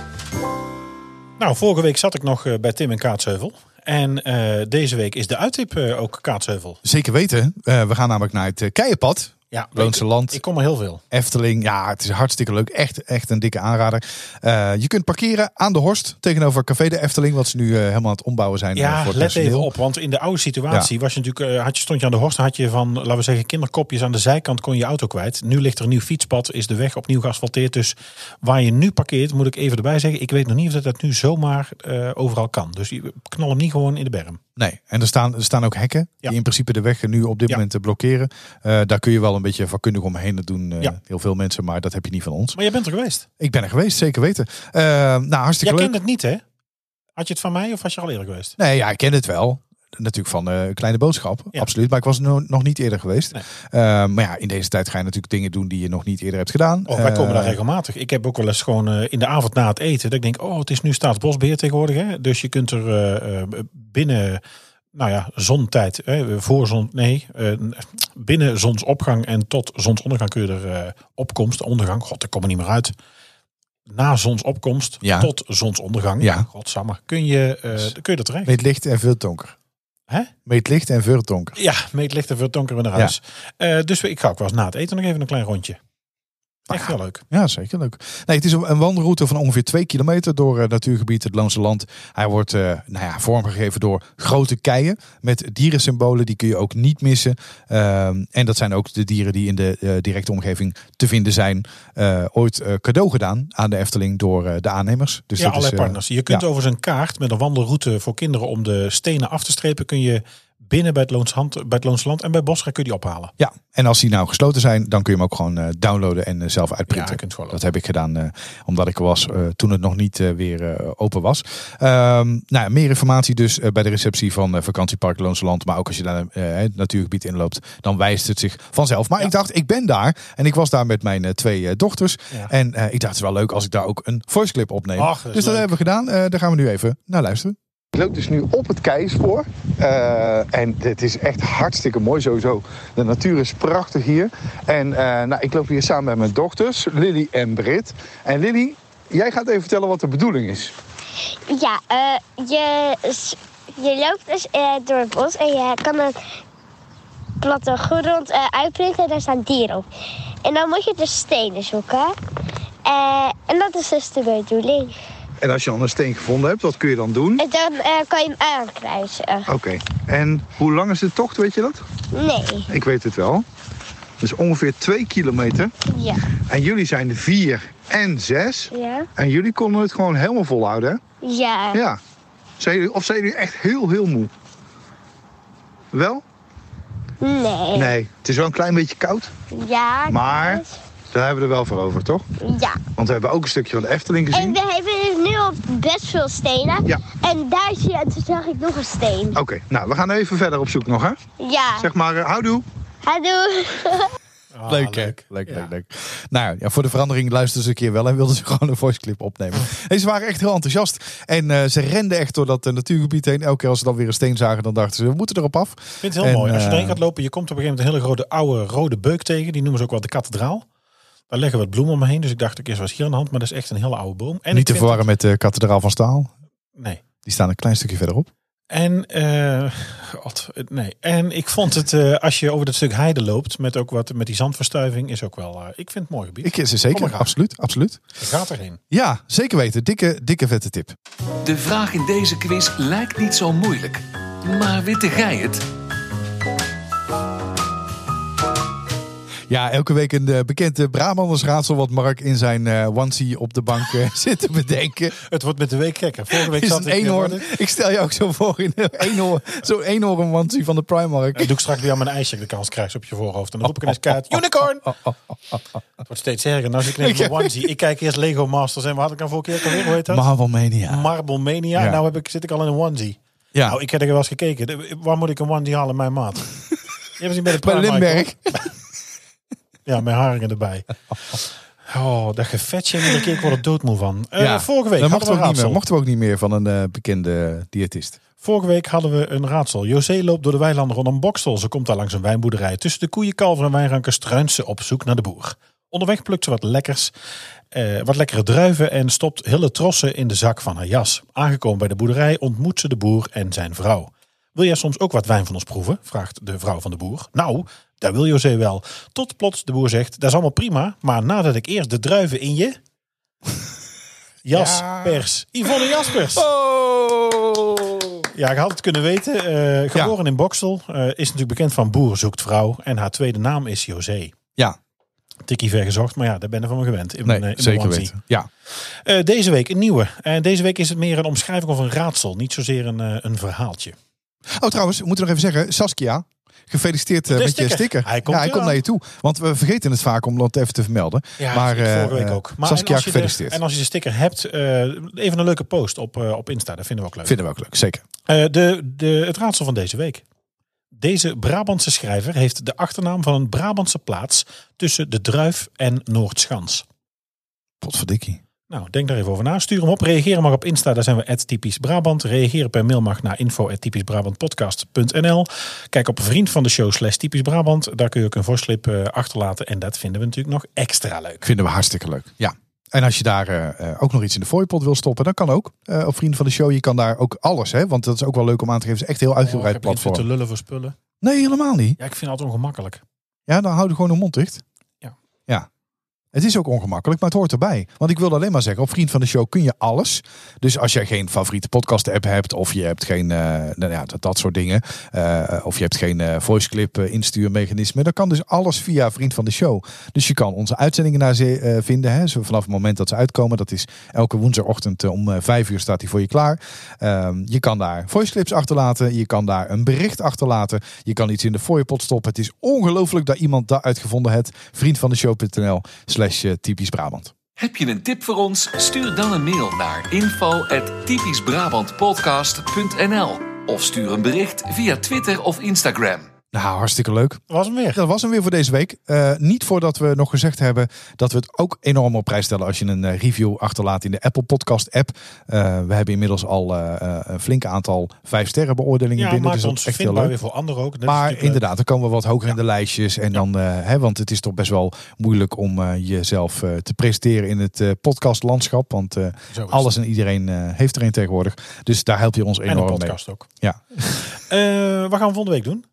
S2: Nou, vorige week zat ik nog eh, bij Tim in Kaatsheuvel. En eh, deze week is de uittip eh, ook Kaatsheuvel.
S3: Zeker weten. Eh, we gaan namelijk naar het eh, Keienpad.
S2: Ja,
S3: Loonse
S2: ik-
S3: Land.
S2: Ik kom er heel veel.
S3: Efteling, ja, het is hartstikke leuk. Echt, echt een dikke aanrader. Eh, je kunt parkeren aan de Horst tegenover Café de Efteling, wat ze nu eh, helemaal aan het ombouwen zijn. eh,
S2: Ja,
S3: voor het
S2: let
S3: personeel.
S2: even op. Want in de oude situatie was je natuurlijk, eh, had je, stond je aan de horst, had je van, laten we zeggen, kinderkopjes aan de zijkant kon je auto kwijt. Nu ligt er een nieuw fietspad, is de weg opnieuw geasfalteerd. Dus waar je nu parkeert, moet ik even erbij zeggen, ik weet nog niet of dat, dat nu zomaar eh, overal kan. Dus je- knal hem niet gewoon in de berm.
S3: Nee, en er staan, er staan ook hekken
S2: Ja.
S3: die in principe de weg nu op dit
S2: Ja.
S3: moment eh, blokkeren. Eh, daar kun je wel een beetje vakkundig omheen. Dat doen eh,
S2: Ja.
S3: heel veel mensen, maar dat heb je niet van ons.
S2: Maar jij bent er geweest.
S3: Ik ben er geweest, zeker weten. Eh, nou,
S2: Jij
S3: hartstikke leuk.
S2: kent het niet, hè? Had je het van mij of was je al eerder geweest?
S3: Nee, ja, ik ken het wel. Natuurlijk van eh, Kleine Boodschap,
S2: Ja.
S3: absoluut. Maar ik was er no- nog niet eerder geweest.
S2: Nee.
S3: Eh, maar ja, in deze tijd ga je natuurlijk dingen doen die je nog niet eerder hebt gedaan.
S2: Oh, wij komen daar
S3: Eh,
S2: regelmatig. Ik heb ook wel eens gewoon eh, in de avond na het eten. Dat ik denk, oh, het is nu staatsbosbeheer tegenwoordig. Hè? Dus je kunt er eh, eh, binnen, nou ja, zontijd, hè, voor zon, nee, eh, binnen zonsopgang en tot zonsondergang kun je er eh, opkomst, ondergang, god, ik kom er niet meer uit. Na zonsopkomst
S3: Ja.
S2: tot zonsondergang,
S3: Ja. Dus
S2: godsamme, kun je, eh, kun je er terecht.
S3: Meet licht en veel donker.
S2: Hè?
S3: Meet licht en veel donker.
S2: Ja, meet lichter voor het donkere naar
S3: Ja.
S2: huis. Eh, dus ik ga ook wel eens na het eten nog even een klein rondje.
S3: Ah,
S2: Echt heel leuk.
S3: Ja, zeker leuk. Nee, het is een een wandelroute van ongeveer twee kilometer door eh, natuurgebied het Loonse Land. Hij wordt eh, nou ja, vormgegeven door grote keien met dierensymbolen. Die kun je ook niet missen. Ehm, en dat zijn ook de dieren die in de eh, directe omgeving te vinden zijn. Eh, ooit eh, cadeau gedaan aan de Efteling door eh, de aannemers. Dus
S2: ja,
S3: dat is,
S2: allerlei
S3: eh,
S2: partners. Je kunt
S3: ja.
S2: over zijn kaart met een wandelroute voor kinderen om de stenen af te strepen, kun je binnen bij het Loons, Hand- bij het Loons Land en bij Bosra kun je die ophalen.
S3: Ja, en als die nou gesloten zijn, dan kun je hem ook gewoon eh, downloaden en eh, zelf uitprinten.
S2: Ja, je kunt gewoon
S3: dat heb ik gedaan eh, omdat ik er was eh, toen het nog niet eh, weer eh, open was. Ehm, nou, ja, meer informatie dus eh, bij de receptie van eh, vakantiepark Loonse Land. Maar ook als je daar eh, het natuurgebied inloopt, dan wijst het zich vanzelf. Maar ik dacht, ik ben daar en ik was daar met mijn eh, twee eh, dochters.
S2: Ja.
S3: En eh, ik dacht, het is wel leuk als ik daar ook een voiceclip opneem.
S2: Ach, dat is
S3: dus dat
S2: leuk.
S3: hebben we gedaan. Eh, daar gaan we nu even naar luisteren.
S7: Ik loop dus nu op het keienspoor. Eh, en het is echt hartstikke mooi sowieso. De natuur is prachtig hier. En eh, nou, ik loop hier samen met mijn dochters, Lily en Brit. En Lily, jij gaat even vertellen wat de bedoeling is.
S8: Ja, eh, je, s- je loopt dus eh, door het bos en je kan een platte grond eh, uitprinten en daar staan dieren op. En dan moet je dus stenen zoeken. Eh, en dat is dus de bedoeling.
S7: En als je dan een steen gevonden hebt, wat kun je dan doen?
S8: En dan eh, kan je hem aankruisen.
S7: Oké. En hoe lang is de tocht, weet je dat?
S8: Nee,
S7: Ik weet het wel. Dus ongeveer twee kilometer.
S8: ja.
S7: En jullie zijn de vier en zes.
S8: Ja?
S7: En jullie konden het gewoon helemaal volhouden, hè?
S8: Ja.
S7: Ja. Zijn jullie, of zijn jullie echt heel, heel moe? Wel?
S8: Nee.
S7: Nee. Het is wel een klein beetje koud.
S8: Ja.
S7: Maar?
S8: dus-
S7: Daar hebben we er wel voor over, toch?
S8: Ja.
S7: Want we hebben ook een stukje van de Efteling gezien.
S8: En we hebben dus nu op best veel stenen.
S7: Ja.
S8: En daar zie je, en toen zag ik nog een steen.
S7: Oké, nou, we gaan even verder op zoek nog, hè?
S8: Ja.
S7: Zeg maar, eh, houdoe.
S8: Hallo.
S2: Ah,
S3: leuk, hè? Leuk, leuk, leuk, Nou ja, voor de verandering luisterden ze een keer wel en wilden ze gewoon een voiceclip opnemen. En ze waren echt heel enthousiast. En eh, ze renden echt door dat eh, natuurgebied heen. Elke keer als ze dan weer een steen zagen, dan dachten ze, we moeten erop af.
S2: Ik vind het heel
S3: En,
S2: mooi. Als je
S3: eh,
S2: erin gaat lopen, je komt op een gegeven moment een hele grote oude rode beuk tegen. Die noemen ze ook wel de kathedraal. Daar leggen wat bloemen omheen. Dus ik dacht, ik is was hier aan de hand. Maar dat is echt een hele oude boom. En ik
S3: Niet te
S2: vind
S3: verwarren met de kathedraal van Staal.
S2: het- nee.
S3: Die staan een klein stukje verderop.
S2: En, eh, god, eh, nee. en ik vond het, eh, als je over dat stuk heide loopt, met, ook wat, met die zandverstuiving, is ook wel, eh, ik vind het mooi gebied.
S3: Ik, ze
S2: Kom maar
S3: zeker,
S2: gaan.
S3: absoluut, absoluut.
S2: Je gaat erheen.
S3: Ja, zeker weten. Dikke, dikke vette tip.
S1: De vraag in deze quiz lijkt niet zo moeilijk. Maar witte gij het?
S3: Ja, elke week een eh, bekend eh, Brabandersraadsel wat Mark in zijn eh onesie op de bank eh, zit te bedenken.
S2: Het wordt met de week gekker. Vorige week
S3: Is
S2: zat
S3: een
S2: ik... eh,
S3: eenhoorn.
S2: wat is-
S3: Ik stel je ook zo voor in eh, een eenhoorn, zo'n eenhoorn onesie van de Primark.
S2: Ik doe ik straks weer aan mijn ijsje de kans krijg op je voorhoofd. En dan roep ik ineens kaart. Unicorn! Het wordt steeds erger. Nou, als ik neem mijn onesie. Ik kijk eerst Lego Masters en wat had ik dan vorige keer? ook alweer? Hoe heet dat?
S3: Marvel Mania.
S2: Marble Mania.
S3: Ja.
S2: Nou heb ik, zit ik al in een onesie.
S3: Ja,
S2: Nou, ik heb er wel eens gekeken. De- Waar moet ik een onesie halen in mijn maat? Je hebt zien bij de
S3: bij
S2: Primark,
S3: Lindbergh.
S2: Ja, met haringen erbij. Oh, dat gevetje. Iedere keer ik word er doodmoe van. Eh,
S3: Ja,
S2: vorige week
S3: Dat
S2: hadden
S3: mochten
S2: we
S3: we,
S2: een
S3: ook niet meer,
S2: raadsel.
S3: mochten we ook niet meer van een eh, bekende diëtist.
S2: Vorige week hadden we een raadsel. José loopt door de weilanden rondom Bokstel. Ze komt daar langs een wijnboerderij. Tussen de koeien, kalveren en wijnranken struint ze op zoek naar de boer. Onderweg plukt ze wat lekkers, eh, wat lekkere druiven en stopt hele trossen in de zak van haar jas. Aangekomen bij de boerderij ontmoet ze de boer en zijn vrouw. Wil jij soms ook wat wijn van ons proeven? vraagt de vrouw van de boer. Nou, dat wil José wel. Tot plots de boer zegt, dat is allemaal prima, maar nadat ik eerst de druiven in je... Jas, pers. Yvonne Jaspers.
S3: Oh!
S2: Ja, ik had het kunnen weten. Eh, geboren in Boksel. eh, is natuurlijk bekend van Boer zoekt vrouw. En haar tweede naam is José.
S3: Ja,
S2: Tikkie ver gezocht, maar ja, daar ben ik van me gewend. In
S3: nee,
S2: mijn, eh, in mijn
S3: zeker
S2: onesie.
S3: weten. Ja,
S2: Eh, deze week een nieuwe. En deze week is het meer een omschrijving of een raadsel. Niet zozeer een, eh, een verhaaltje.
S3: Oh, trouwens, we moeten nog even zeggen, Saskia, gefeliciteerd eh,
S2: De
S3: met je
S2: sticker.
S3: sticker.
S2: Hij komt
S3: ja, hij
S2: eraan.
S3: komt naar je toe. Want we vergeten het vaak om dat even te vermelden. maar
S2: dat
S3: eh,
S2: vorige week
S3: eh,
S2: ook. Maar en
S3: Saskia,
S2: als je de-
S3: gefeliciteerd.
S2: en als je de sticker hebt, eh, even een leuke post op, eh, op Insta. Dat vinden we ook leuk.
S3: Vinden we ook leuk, zeker.
S2: Eh, de, de, het raadsel van deze week. Deze Brabantse schrijver heeft de achternaam van een Brabantse plaats tussen de Druif en Noordschans.
S3: Potverdikkie.
S2: Nou, denk daar even over na. Stuur hem op. Reageer mag op Insta. Daar zijn we typisch Brabant. Reager per mail mag naar info typischbrabantpodcast.nl. Kijk op vriend van de show slash typisch Brabant. Daar kun je ook een voorslip eh, achterlaten. En dat vinden we natuurlijk nog extra leuk.
S3: Vinden we hartstikke leuk. Ja. En als je daar eh, eh, ook nog iets in de fooipot wil stoppen, dan kan ook. Eh, op Vrienden van de Show, je kan daar ook alles, hè? Want dat is ook wel leuk om aan te geven. Het is echt een heel uitgebreid
S2: heb je iets te
S3: platform.
S2: lullen voor spullen?
S3: Nee, helemaal niet.
S2: Ja, ik vind het altijd ongemakkelijk.
S3: Ja, dan houden we gewoon de mond dicht.
S2: Ja.
S3: Ja. Het is ook ongemakkelijk, maar het hoort erbij. Want ik wilde alleen maar zeggen, op Vriend van de Show kun je alles. Dus als jij geen favoriete podcast app hebt, of je hebt geen, eh, nou ja, dat, dat soort dingen. eh, of je hebt geen eh voiceclip eh, instuurmechanisme. Dan kan dus alles via Vriend van de Show. Dus je kan onze uitzendingen daar ze- eh, vinden. Hè. Zo vanaf het moment dat ze uitkomen. Dat is elke woensdagochtend eh, om eh, vijf uur staat die voor je klaar. Ehm, je kan daar voiceclips achterlaten. Je kan daar een bericht achterlaten. Je kan iets in de fooiepot stoppen. Het is ongelooflijk dat iemand dat uitgevonden heeft. Vriend van de show.nl slash eh, typisch Brabant.
S1: Heb je een tip voor ons? Stuur dan een mail naar info typischbrabantpodcast.nl of stuur een bericht via Twitter of Instagram.
S3: Nou, hartstikke leuk.
S2: Dat was hem weer.
S3: Dat was hem weer voor deze week. Eh, niet voordat we nog gezegd hebben dat we het ook enorm op prijs stellen als je een eh, review achterlaat in de Apple Podcast app. Eh, we hebben inmiddels al eh, eh, een flink aantal vijf sterren beoordelingen
S2: Ja,
S3: binnen. Dus
S2: maakt
S3: dat
S2: ons
S3: is echt heel
S2: vindbaar
S3: leuk.
S2: weer voor anderen ook. Dat is
S3: Maar
S2: natuurlijk eh, leuk.
S3: inderdaad, dan komen we wat hoger in de lijstjes. En dan, eh, hè, want het is toch best wel moeilijk om eh, jezelf eh, te presenteren in het eh, podcastlandschap. Want eh,
S2: Zo is
S3: alles en iedereen eh, heeft er een tegenwoordig. Dus daar help je ons
S2: En een
S3: enorm mee.
S2: podcast ook.
S3: Ja.
S2: Eh, wat gaan we volgende week doen?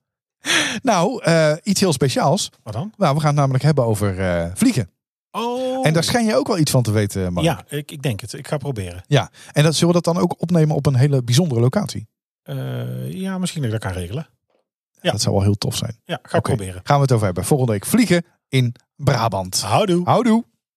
S3: Nou, eh, iets heel speciaals.
S2: Wat dan?
S3: Nou, we gaan het namelijk hebben over eh, vliegen.
S2: Oh.
S3: En daar schijn je ook wel iets van te weten, Mark.
S2: Ja, ik, ik denk het. Ik ga proberen.
S3: Ja. En dat, zullen we dat dan ook opnemen op een hele bijzondere locatie?
S2: Eh, ja, misschien dat ik dat kan regelen. Ja.
S3: Dat zou wel heel tof zijn.
S2: Ja, ga ik
S3: Oké.
S2: proberen.
S3: Gaan we het over hebben. Volgende week vliegen in Brabant.
S2: Houdoe.
S3: Houdoe.